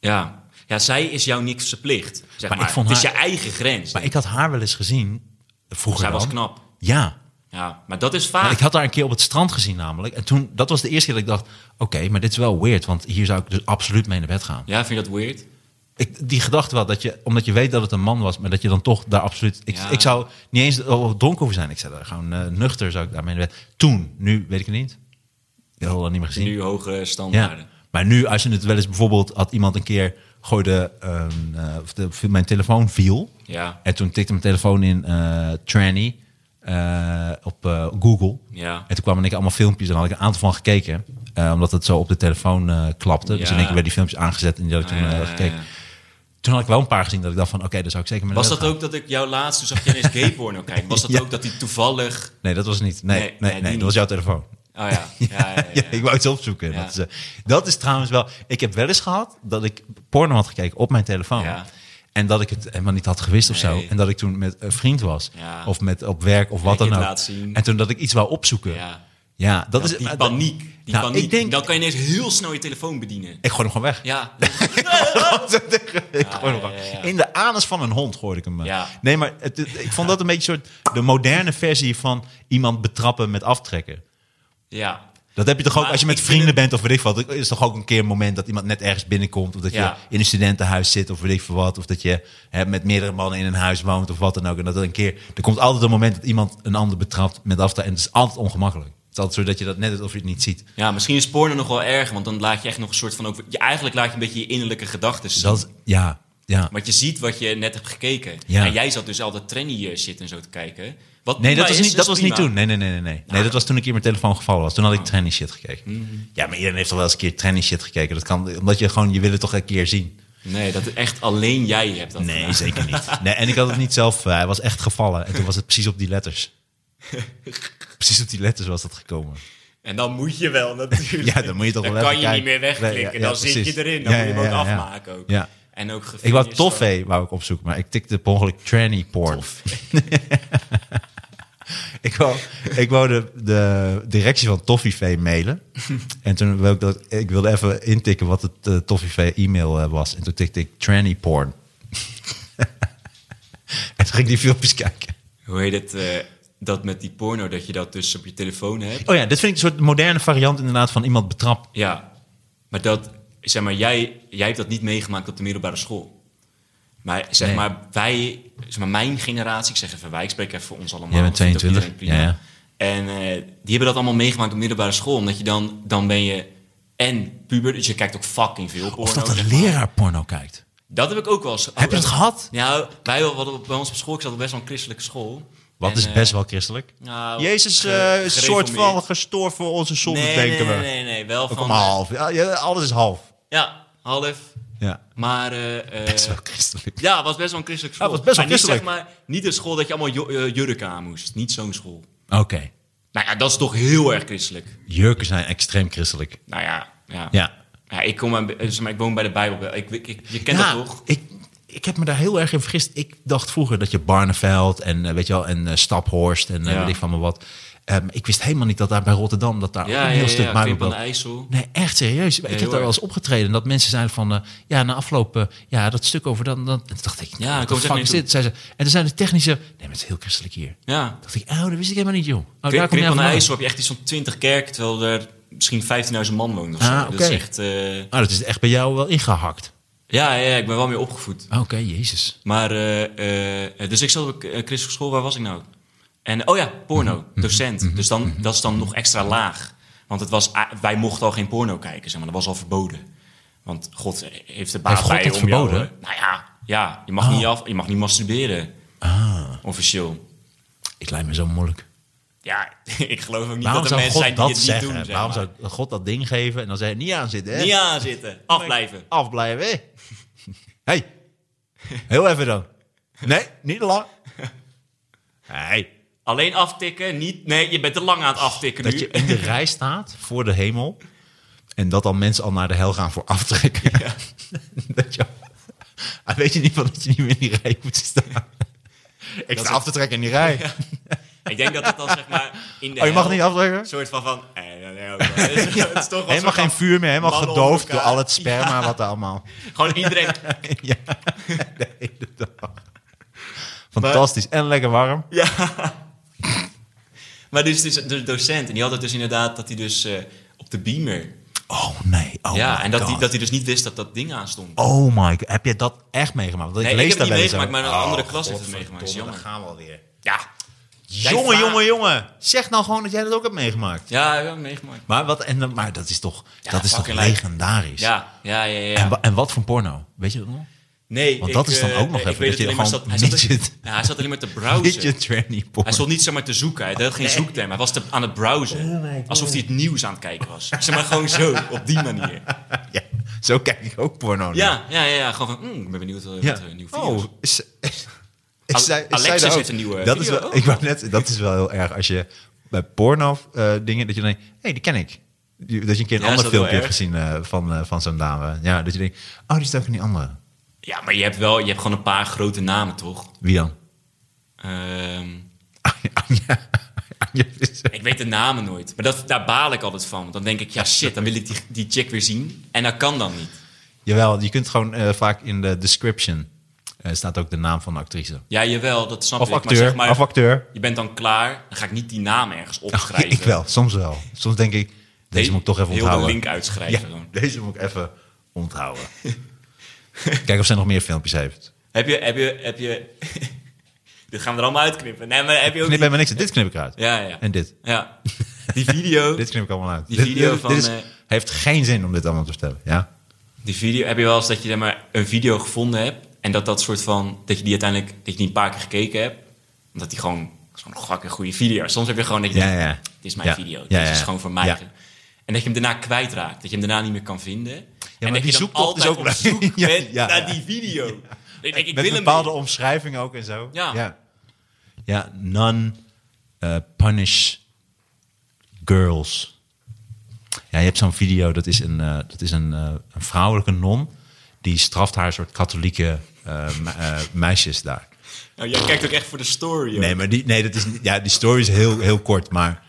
S2: Ja. Ja, zij is jou niks verplicht. Zeg maar
S3: Maar ik vond
S2: het is
S3: haar-
S2: je eigen grens.
S3: Maar ik had haar wel eens gezien, vroeger
S2: zij
S3: dan.
S2: was knap.
S3: Ja,
S2: Ja, maar dat is
S3: Maar
S2: vaak.
S3: ik had haar een keer op het strand gezien namelijk. En toen, dat was de eerste keer dat ik dacht... oké, maar dit is wel weird, want hier zou ik dus absoluut mee naar bed gaan.
S2: Ja, vind je dat weird?
S3: Ik, die gedachte wel, dat je, omdat je weet dat het een man was... maar dat je dan toch daar absoluut... Ik,
S2: Ja.
S3: ik zou niet eens oh, dronken hoeven zijn. Ik zou daar gewoon eh, nuchter zou ik daarmee naar bed. Toen, nu weet ik het niet. Ik had dat niet meer gezien.
S2: Nu hogere standaarden.
S3: ja. Maar nu, als je het wel eens bijvoorbeeld... had iemand een keer gooide... een, eh, of de, viel- mijn telefoon viel...
S2: Ja.
S3: en toen tikte mijn telefoon in eh tranny... eh, op eh, Google...
S2: Ja.
S3: En toen kwamen in één keer allemaal filmpjes en had ik een aantal van gekeken. eh, omdat het zo op de telefoon eh, klapte. Dus
S2: Ja. Ah,
S3: in één keer werden die filmpjes aangezet en die had ik toen
S2: Ja,
S3: eh,
S2: ja, ja,
S3: gekeken.
S2: ja.
S3: Toen had ik wel een paar gezien dat ik dacht van, oké, daar zou ik zeker mee
S2: Was
S3: naar
S2: dat
S3: bed
S2: ook dat ik jou laatst, toen zag je ineens
S3: <laughs>
S2: gay porno kijken, was dat
S3: Ja.
S2: ook dat hij toevallig...
S3: gaan. Nee, dat was het niet. Nee,
S2: Nee,
S3: nee,
S2: nee,
S3: nee,
S2: die
S3: dat
S2: niet.
S3: was jouw telefoon.
S2: Oh ja, ja,
S3: <laughs>
S2: ja, ja, ja.
S3: ik wou het opzoeken.
S2: Ja.
S3: Dat, is, eh, dat is trouwens wel... Ik heb wel eens gehad dat ik porno had gekeken op mijn telefoon.
S2: Ja.
S3: En dat ik het helemaal niet had gewist of
S2: Nee.
S3: zo. En dat ik toen met een vriend was.
S2: Ja.
S3: Of met op werk of wat
S2: je
S3: dan
S2: het
S3: ook.
S2: laat zien.
S3: En toen dat ik iets wou opzoeken.
S2: Ja.
S3: Ja, dat is...
S2: Die
S3: maar-
S2: paniek. Die
S3: Nou,
S2: paniek.
S3: Ik denk...
S2: Dan kan je ineens heel snel je telefoon bedienen.
S3: Ik gooi hem gewoon weg.
S2: Ja.
S3: <laughs>
S2: dus-
S3: Ik gooi hem
S2: ja,
S3: gewoon.
S2: ja, ja.
S3: In de anus van een hond gooide ik hem. eh.
S2: Ja.
S3: Nee, maar het, het- ik vond dat een beetje een soort de moderne versie van iemand betrappen met aftrekken.
S2: Ja.
S3: Dat heb je toch ook
S2: Maar
S3: als je met
S2: ik vind
S3: vrienden bent of weet ik wat. Is toch ook een keer een moment dat iemand net ergens binnenkomt. Of dat
S2: Ja.
S3: je in een studentenhuis zit of weet ik veel wat. Of dat je hè, met meerdere mannen in een huis woont of wat dan ook. En dat er een keer. Er komt altijd een moment dat iemand een ander betrapt met aftrekken. En het is altijd ongemakkelijk. Het is altijd zo dat je dat net doet of je het niet ziet. Dus
S2: Ja, misschien is porno nog wel erg, want dan laat je echt nog een soort van... Ook, je, eigenlijk laat je een beetje je innerlijke gedachten zien.
S3: Dat is, ja, ja.
S2: Want je ziet wat je net hebt gekeken.
S3: Ja.
S2: En jij zat dus al dat tranny eh, shit en zo te kijken. Wat
S3: Nee, dat
S2: prima
S3: was
S2: is, dus
S3: niet, dat was niet
S2: prima. Nou. Ah.
S3: toen. Nee, nee, nee, nee. Nee, nee dat was toen ik hier mijn telefoon gevallen was. Toen had ik tranny shit gekeken.
S2: Mhm.
S3: Ja, maar iedereen heeft toch wel eens een keer tranny shit gekeken. Dat kan, omdat je gewoon, je wil het toch een keer zien.
S2: Nee, dat echt alleen jij hebt dat
S3: Nee,
S2: gedaan.
S3: zeker niet. Nee, en ik had het niet zelf, eh, hij was echt gevallen. En toen was het precies op die <laughs> letters. Precies op die letters was dat gekomen.
S2: En dan moet je
S3: <laughs>
S2: wel natuurlijk.
S3: Ja, dan moet je toch
S2: dan
S3: wel
S2: kan
S3: even
S2: je niet
S3: kijken.
S2: meer wegklikken.
S3: Nee, ja, ja,
S2: dan zit
S3: precies.
S2: je erin. Dan
S3: Ja,
S2: moet je hem
S3: ja,
S2: ook
S3: ja, ja.
S2: afmaken ook.
S3: Ja.
S2: En ook
S3: Ik wou
S2: gefinished
S3: toffee, wou ik opzoeken. Maar ik tikte per ongeluk tranny porn. <laughs> ik wou, ik wou de, de directie van Toffifee mailen. en toen wilde ik, dat, ik wilde even intikken wat het eh, Toffifee e-mail eh, was. En toen tikte ik tranny porn. <laughs> en toen ging ik die filmpjes kijken.
S2: gewoon. Hoe heet het? eh, dat met die porno, dat je dat dus op je telefoon hebt.
S3: Oh ja, dit vind ik een soort moderne variant inderdaad van iemand betrapt.
S2: Ja, maar dat, zeg maar, jij, jij hebt dat niet meegemaakt op de middelbare school. Maar zeg
S3: Nee.
S2: maar, wij, zeg maar, mijn generatie, ik zeg even wij, ik spreek even voor ons allemaal.
S3: Jij bent
S2: Ik vind dat
S3: 22,
S2: iedereen
S3: ja, ja.
S2: En eh, die hebben dat allemaal meegemaakt op de middelbare school. Omdat je dan, dan ben je en puber, dus je kijkt ook fucking veel porno.
S3: Of dat een
S2: zeg maar.
S3: leraar porno kijkt.
S2: Dat heb ik ook wel eens.
S3: Heb je dat gehad?
S2: Nou, wij hadden op- bij ons op school, ik zat op best wel een christelijke school.
S3: Wat
S2: En,
S3: is
S2: eh,
S3: best wel christelijk.
S2: nou,
S3: Jezus,
S2: ge-
S3: eh, een soort van
S2: gereformeerd.
S3: gestoord voor onze zonde,
S2: nee,
S3: denken
S2: nee,
S3: we.
S2: Nee, nee, nee, wel
S3: Ook
S2: van... eh,
S3: allemaal half. Ja, ja, alles is half.
S2: Ja, half.
S3: Ja.
S2: Maar eh, eh,
S3: Best wel christelijk.
S2: Ja, het was best wel een christelijke school.
S3: Ja, het was best wel
S2: Maar niet, Zeg
S3: christelijk.
S2: maar, niet een school dat je allemaal ju- eh, jurken aan moest. Niet zo'n school.
S3: Oké.
S2: Nou ja, dat is toch heel erg christelijk.
S3: Jurken zijn extreem christelijk.
S2: Nou ja, ja.
S3: Ja.
S2: Ja, ik, kom aan, eh, zeg maar, ik woon bij de Bijbel. Ik, ik, ik- je kent
S3: ja,
S2: dat toch?
S3: Ik, ik heb me daar heel erg in vergist. Ik dacht vroeger dat je Barneveld en, eh, weet je wel, en eh, Staphorst en eh,
S2: Ja.
S3: weet ik van me wat. Ehm, ik wist helemaal niet dat daar bij Rotterdam, dat daar ook
S2: Ja,
S3: een
S2: ja,
S3: heel
S2: ja,
S3: stuk
S2: ja,
S3: Milo
S2: Knip aan de
S3: Blood-
S2: IJssel.
S3: Nee, echt serieus. ik heb
S2: joh.
S3: daar wel eens opgetreden. en Dat mensen zeiden van, eh, ja, na afloop, eh, ja, dat stuk over dan, dan. En toen dacht ik,
S2: Ja,
S3: ja,
S2: ik kom
S3: wat de
S2: het
S3: fuck
S2: echt
S3: is
S2: niet
S3: dit? Zei ze, en toen zijn de technische, nee, maar het is heel christelijk hier.
S2: Ja.
S3: dacht ik, oh, dat wist ik helemaal niet, joh. Oh, daar
S2: Knip
S3: kom
S2: Knip
S3: jij
S2: aan de
S3: vandaan.
S2: IJssel heb je echt iets van 20 kerken, terwijl er misschien 15.000 man woont of zo.
S3: Ah,
S2: Dat is
S3: oké.
S2: echt... eh,
S3: Ah, dat is echt bij jou wel ingehakt.
S2: ja, ja, ja, ik ben wel meer opgevoed.
S3: Oké, jezus.
S2: Maar, eh, eh, dus ik zat op een christelijke school, waar was ik nou? En, oh ja, porno,
S3: Mhm.
S2: docent. Dus dan, dat is dan nog extra laag. Want het was, ah, wij mochten al geen porno kijken, zeg maar. Dat was al verboden. Want God heeft er baat
S3: Heeft God
S2: bij
S3: dat
S2: om jou,
S3: verboden?
S2: eh, nou ja, ja je, mag
S3: Oh.
S2: niet af, je mag niet masturberen,
S3: Ah,
S2: officieel.
S3: het lijkt me zo moeilijk.
S2: Ja, <laughs> ik geloof ook niet
S3: Waarom
S2: dat er
S3: zou
S2: mensen
S3: God
S2: zijn die
S3: dat
S2: het niet
S3: zeggen?
S2: doen. Zeg
S3: Waarom
S2: maar.
S3: zou God dat ding geven en dan zeggen, niet aan zitten, hè?
S2: Niet aanzitten, afblijven.
S3: Afblijven, hè? hey. heel even dan. Nee, niet te
S2: <laughs>
S3: lang. Hey.
S2: Alleen aftikken, niet... Nee, je bent te lang aan het aftikken nu.
S3: Dat je in de rij staat voor de hemel. En dat dan mensen al naar de hel gaan voor aftrekken. <laughs> dat je, Ah, weet je niet van dat je niet meer in die rij moet staan? Ik sta
S2: is-
S3: af te trekken in die <laughs> rij.
S2: Ik denk dat het dan, zeg maar, in de
S3: Oh, je mag
S2: hel-
S3: niet aftrekken?
S2: Een soort van van... eh, nee, nee, ook wel. Het is- <laughs> het is toch wel
S3: Helemaal
S2: zo'n
S3: geen vuur meer, helemaal
S2: mannen
S3: gedoofd
S2: onder
S3: door
S2: elkaar.
S3: al het sperma wat er allemaal...
S2: Gewoon iedereen...
S3: <laughs> ja, de hele dag. Fantastisch en lekker warm.
S2: Maar dus, dus de docent, en die had het dus inderdaad dat hij dus eh, op de beamer...
S3: Oh nee, oh
S2: ja,
S3: my
S2: en dat hij,
S3: God.
S2: dat hij dus niet wist dat dat ding aanstond.
S3: Oh my god, heb je dat echt meegemaakt? Want
S2: Nee, ik
S3: lees
S2: heb het
S3: daar
S2: niet
S3: wel eens
S2: meegemaakt,
S3: over.
S2: maar een andere klas heeft het meegemaakt. Is
S3: Oh, godverdomme,
S2: jammer.
S3: daar gaan we alweer.
S2: Ja. Jij
S3: Jongen,
S2: vraagt-
S3: jongen, jongen. Zeg nou gewoon dat jij dat ook hebt meegemaakt.
S2: Ja, ja, meegemaakt.
S3: Maar, wat, en, dan- maar dat is toch, dat is toch
S2: fucking lijp.
S3: legendarisch?
S2: Ja, ja, ja, ja.
S3: En, wa- en wat voor porno? Weet je dat nog?
S2: nee,
S3: want dat
S2: ik,
S3: is dan
S2: eh,
S3: ook nog
S2: ik
S3: even
S2: weet
S3: dat je
S2: het alleen maar
S3: gewoon
S2: zat- hij zat-
S3: midget-
S2: <laughs> Ja, hij zat alleen maar te
S3: Weet je,
S2: browsen.
S3: tranny
S2: Hij
S3: porn.
S2: stond niet zomaar te zoeken. Hij had geen zoekterm. Hij was te, aan het browsen. alsof hij het nieuws aan het kijken was. Zeg maar gewoon zo, op die manier.
S3: <laughs> Ja, zo kijk ik ook porno nu.
S2: Ja, ja, ja. ja. Gewoon van, mm, ik ben benieuwd wat,
S3: Ja.
S2: wat er nieuw video's.
S3: Oh, is, is,
S2: Al-
S3: is zij, is
S2: Alexis
S3: zij daar ook?
S2: heeft een nieuwe
S3: dat
S2: video oh.
S3: Is wel,
S2: ook.
S3: ik wou net, dat is wel heel erg als je bij porno eh, dingen, dat je denkt, hé, hey, die ken ik. Die- Dat je een keer een
S2: Ja, is dat
S3: ander
S2: wel
S3: filmpje
S2: erg?
S3: hebt gezien eh, van, eh, van zo'n dame. Ja, dat je denkt, oh, die staat ook in die andere.
S2: Ja, maar je hebt wel, je hebt gewoon een paar grote namen, toch?
S3: Wie dan? <laughs>
S2: Ehm,
S3: Anja. Anja Visser.
S2: ik weet de namen nooit. Maar dat, daar baal ik altijd van. Want dan denk ik, ja shit, dan wil ik die, die chick weer zien. En dat kan dan niet.
S3: Jawel, je kunt gewoon eh, vaak in de description eh, staat ook de naam van de actrice.
S2: Ja, jawel, dat snap
S3: Of
S2: ik.
S3: acteur,
S2: maar zeg maar,
S3: of acteur.
S2: je bent dan klaar. Dan ga ik niet die naam ergens opschrijven.
S3: <laughs> ik wel, soms wel. Soms denk ik, deze moet ik toch even
S2: heel
S3: onthouden.
S2: de link uitschrijven.
S3: Ja,
S2: gewoon.
S3: deze moet ik even
S2: <laughs>
S3: onthouden. Kijk of zij nog meer filmpjes heeft.
S2: Heb je, heb je, heb je... <laughs> Dit gaan we er allemaal uitknippen. Nee, maar heb je ook...
S3: Knip
S2: die-
S3: helemaal niks. uit. Dit knip ik eruit.
S2: Ja, ja.
S3: En dit.
S2: Ja. Die video,
S3: <laughs> Dit knip ik allemaal uit.
S2: Die
S3: Dit-
S2: video
S3: dit,
S2: van,
S3: dit is-
S2: eh,
S3: heeft geen zin om dit allemaal te vertellen. Ja?
S2: die video, heb je wel eens dat je zeg maar, een video gevonden hebt... en dat dat soort van... dat je die uiteindelijk dat je die een paar keer gekeken hebt... omdat die gewoon... zo'n fucking goede video. Soms heb je gewoon dat je
S3: Ja,
S2: denkt,
S3: ja.
S2: Dit is mijn
S3: Ja.
S2: video. Dit
S3: Ja, ja.
S2: is gewoon voor mij.
S3: Ja.
S2: En dat je hem daarna kwijtraakt. Dat je hem daarna niet meer kan vinden. en
S3: maar
S2: dat
S3: die
S2: je dan
S3: zoektocht is
S2: altijd
S3: ook
S2: op
S3: wel-
S2: zoek
S3: <laughs> Ja,
S2: bent
S3: ja,
S2: naar
S3: ja.
S2: die video. Ik denk, ik
S3: Met
S2: wil hem
S3: bepaalde
S2: niet.
S3: omschrijving ook en zo.
S2: Ja.
S3: Ja, Ja, none eh, punish girls. Ja, je hebt zo'n video, dat is een, eh, dat is een, eh, een vrouwelijke non... die straft haar soort katholieke eh, me- eh, meisjes daar.
S2: Nou, jij kijkt ook echt voor de story. joh.
S3: Nee, maar die, nee, dat is, niet- ja, die story is heel, heel kort, maar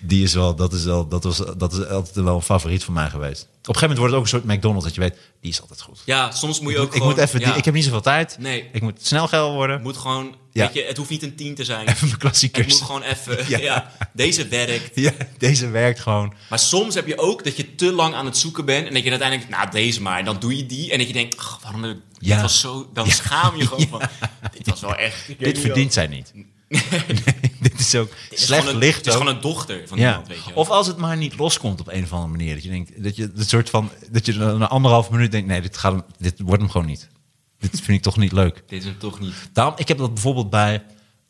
S3: die is wel, dat, is wel, dat, was, dat is altijd wel een favoriet van mij geweest. Op een gegeven moment wordt het ook een soort McDonald's dat je weet, die is altijd goed.
S2: Ja, soms moet je ook
S3: ik,
S2: gewoon...
S3: moet even, die-
S2: ja.
S3: ik heb niet zoveel tijd.
S2: Nee.
S3: Ik moet snel geil worden.
S2: Het moet gewoon,
S3: Ja.
S2: weet je, het hoeft niet een tien te zijn.
S3: Even mijn
S2: het
S3: klassiekers.
S2: moet gewoon even, ja.
S3: Ja.
S2: deze werkt.
S3: <laughs> Ja, deze werkt gewoon.
S2: Maar soms heb je ook dat je te lang aan het zoeken bent en dat je uiteindelijk, nou deze maar, en dan doe je die en dat je denkt, ach, waarom heb ik,
S3: Ja.
S2: dit was zo, dan
S3: Ja.
S2: schaam
S3: <laughs>
S2: je gewoon van, dit was wel echt. ik weet
S3: Dit
S2: niet
S3: verdient zij
S2: <laughs>
S3: niet. Nee, <laughs> dit is ook
S2: wel. Het is
S3: slecht
S2: gewoon een-
S3: licht.
S2: Het is
S3: ook.
S2: gewoon een dochter van
S3: ja.
S2: iemand, weet je wel.
S3: Of als het maar niet loskomt op een of andere manier. Dat je denkt dat je het soort van dat je na anderhalf minuut denkt, nee, dit, gaat, hem- dit wordt hem gewoon niet. Dit vind ik toch niet leuk.
S2: Dit is hem toch niet.
S3: Daarom, ik heb dat bijvoorbeeld bij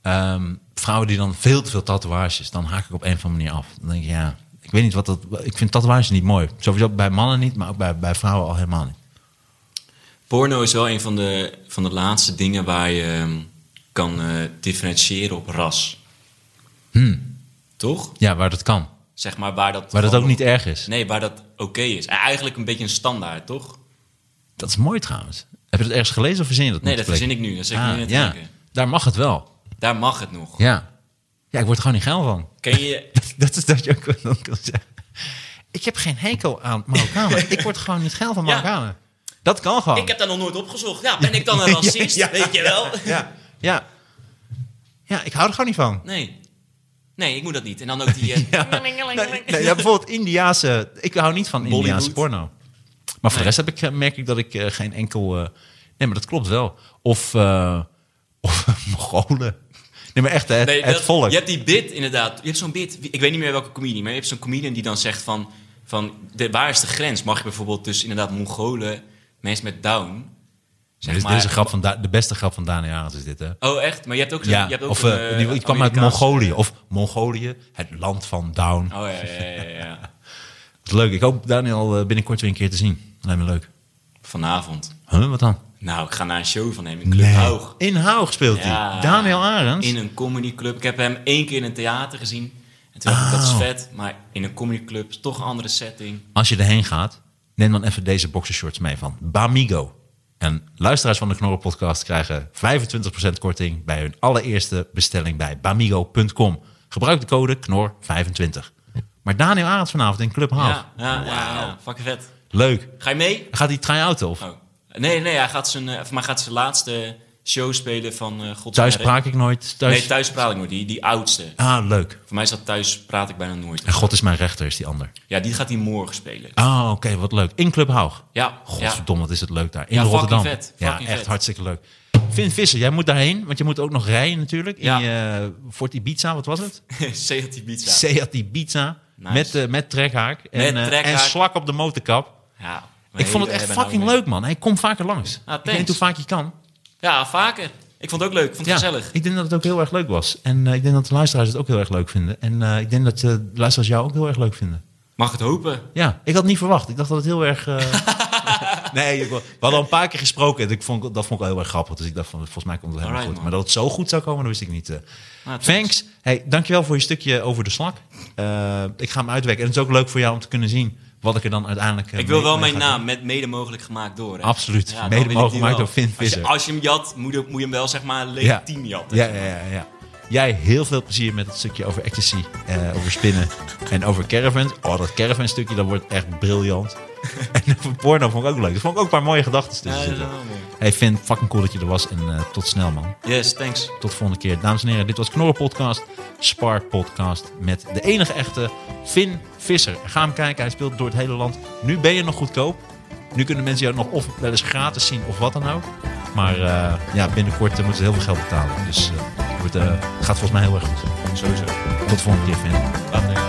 S3: ehm, vrouwen die dan veel te veel tatoeages, dan haak ik op een of andere manier af. Dan denk ik, ja, ik weet niet wat dat. Ik vind tatoeages niet mooi. Sowieso bij mannen niet, maar ook bij, bij vrouwen al helemaal niet.
S2: Porno is wel een van de, van de laatste dingen waar je ehm, kan eh, differentiëren op ras. Toch?
S3: Ja, waar dat kan.
S2: Zeg maar waar dat...
S3: Waar Hmm. dat
S2: gewoon
S3: ook niet erg is.
S2: Nee, waar dat oké is. Eigenlijk een beetje een standaard, toch?
S3: Dat is mooi trouwens. Heb je dat ergens gelezen of verzin je dat
S2: Nee,
S3: niet
S2: dat
S3: ter
S2: verzin
S3: plekke?
S2: ik nu. Dat zeg ik
S3: Ah,
S2: nu net
S3: ja.
S2: denken.
S3: Daar mag het wel.
S2: Daar mag het nog.
S3: Ja. Ja, ik word er gewoon niet geil van. <laughs>
S2: Ken je...
S3: Dat is dat je ook dan kan zeggen. Ik heb geen hekel aan
S2: <laughs>
S3: Marokkanen. ik word er gewoon niet geil van
S2: Ja.
S3: Marokkanen. Dat kan gewoon.
S2: Ik heb daar nog nooit opgezocht. Ja, ben ik dan een racist?
S3: Oh. <laughs> Ja, ja,
S2: Weet je wel?
S3: ja, ja. ja, ik hou er gewoon niet van.
S2: Nee. Nee, ik moet dat niet. En dan ook
S3: <laughs>
S2: die... eh,
S3: Nee, ja, bijvoorbeeld Indiaanse. Ik hou niet van
S2: Bollywood.
S3: Indiaanse porno. Maar voor
S2: Nee.
S3: de rest heb ik, eh, merk ik dat ik eh, geen enkel. eh, nee, maar dat klopt wel. Of, eh of <laughs> Mongolen. Nee, maar echt, hè, het,
S2: Nee,
S3: het
S2: dat-
S3: volk.
S2: Je hebt die bit, inderdaad. Je hebt zo'n bit. Ik weet niet meer welke comedian, maar je hebt zo'n comedian die dan zegt van... van de, waar is de grens? Mag je bijvoorbeeld dus inderdaad Mongolen, mensen met Down...
S3: Dit
S2: Zeg
S3: is-
S2: maar,
S3: dit is een grap van Da- de beste grap van Daniel Arends is dit, hè?
S2: Oh, echt? Maar je hebt ook zo'n...
S3: Ja,
S2: je hebt ook
S3: of
S2: een,
S3: eh,
S2: eh,
S3: die, die kwam uit
S2: Amerikaans-
S3: Mongolië. Of Mongolië, het land van Down.
S2: Oh, ja, ja, ja, ja, ja.
S3: Dat is leuk. Ik hoop Daniel eh, binnenkort weer een keer te zien. Lijkt me leuk.
S2: Vanavond.
S3: Huh, wat dan?
S2: Nou, ik ga naar een show van hem in Club Haug.
S3: In Haug speelt hij.
S2: Ja.
S3: Daniel Arends.
S2: In een comedyclub. Ik heb hem één keer in een theater gezien. En toen dacht ik, dat
S3: Oh.
S2: is vet. Maar in een comedyclub is toch een andere setting.
S3: Als je erheen gaat, neem dan even deze boxershorts mee van Bamigo. En luisteraars van de Knorren podcast krijgen 25% korting bij hun allereerste bestelling bij bamigo.com. Gebruik de code KNOR25. Maar Daniel Arends vanavond in Club Haag.
S2: Ja, ja, ja, ja. Fucking vet.
S3: Leuk.
S2: Ga je mee?
S3: Gaat hij try-outen of?
S2: Oh. Nee, nee, hij gaat zijn, eh, of maar hij gaat zijn laatste show spelen van eh God
S3: Thuis
S2: Sterre.
S3: praak ik nooit. Thuis...
S2: Nee, thuis praat ik nooit. Die, die oudste.
S3: Ah, leuk.
S2: Voor mij is dat thuis praat ik bijna nooit.
S3: En God is mijn rechter, is die ander.
S2: Ja, die gaat hij morgen spelen. <laughs>
S3: Ah, oké, wat leuk. In Club Haag.
S2: Ja, ja.
S3: Godverdomme, wat is het leuk daar. In
S2: Ja, fucking
S3: Rotterdam.
S2: vet,
S3: ja,
S2: fucking
S3: echt
S2: vet.
S3: hartstikke leuk. Vin Visser, jij moet daarheen, want je moet ook nog rijden natuurlijk. In,
S2: Ja.
S3: je Fort Ibiza, wat was het?
S2: Seat Ibiza.
S3: <laughs> Seat Ibiza.
S2: Nice.
S3: Met, eh, met trekhaak. En,
S2: Met
S3: eh,
S2: trekhaak.
S3: en slak op de motorkap.
S2: ja, nou
S3: ik vond het echt fucking leuk, man. Hij komt vaker langs.
S2: Ah,
S3: ik weet niet hoe
S2: thanks.
S3: vaak je kan.
S2: Ja, vaker. Ik vond het ook leuk. Ik vond het gezellig.
S3: Ik denk dat het ook heel erg leuk was. En eh, ik denk dat de luisteraars het ook heel erg leuk vinden. En eh, ik denk dat eh, de luisteraars jou ook heel erg leuk vinden.
S2: Mag het hopen.
S3: Ja, ik had niet verwacht. Ik dacht dat het heel erg. eh, <laughs> nee, ik- we hadden al een paar keer gesproken. En ik vond, dat vond ik wel heel erg grappig. Dus ik dacht van, volgens mij komt het helemaal
S2: Alright,
S3: goed.
S2: man. Nou,
S3: Maar dat het zo goed zou komen, dat wist ik niet. eh.
S2: thanks.
S3: Thanks. Hey, dankjewel voor je stukje over de slak. Eh, ik ga hem uitwerken. En het is ook leuk voor jou om te kunnen zien wat ik er dan uiteindelijk. eh,
S2: Ik wil
S3: mee-
S2: wel
S3: mee
S2: mijn
S3: ga doen.
S2: naam met mede mogelijk gemaakt door. hè.
S3: Absoluut.
S2: Ja, dan
S3: Mede
S2: wil ik
S3: mogelijk
S2: die
S3: gemaakt
S2: wel.
S3: door Finn
S2: Als je,
S3: Visser.
S2: als je hem jat, moet je, moet je hem wel zeg maar legitiem jatten.
S3: Ja, ja, ja, ja. Jij heel veel plezier met het stukje over ecstasy, eh, over spinnen en over caravans. Oh, dat caravan stukje, dat wordt
S2: <laughs>
S3: echt briljant. en over porno vond ik ook leuk. Er vond ik ook een paar mooie gedachten
S2: Ja,
S3: tussen
S2: dat is
S3: zitten.
S2: wel mooi.
S3: Hey Finn, fucking cool dat je er was en eh, tot snel man.
S2: Yes, thanks.
S3: Tot de volgende keer. Dames en heren, dit was Knorren Podcast, Spark Podcast met de enige echte Finn Visser. Ga hem kijken, hij speelt door het hele land. Nu ben je nog goedkoop. Nu kunnen mensen jou nog of wel eens gratis zien of wat dan ook. Maar eh, ja, binnenkort eh, moeten ze heel veel geld betalen. Dus eh, het wordt, eh, het gaat volgens mij heel erg goed.
S2: Sowieso.
S3: Tot de volgende keer, Finn.
S2: Later.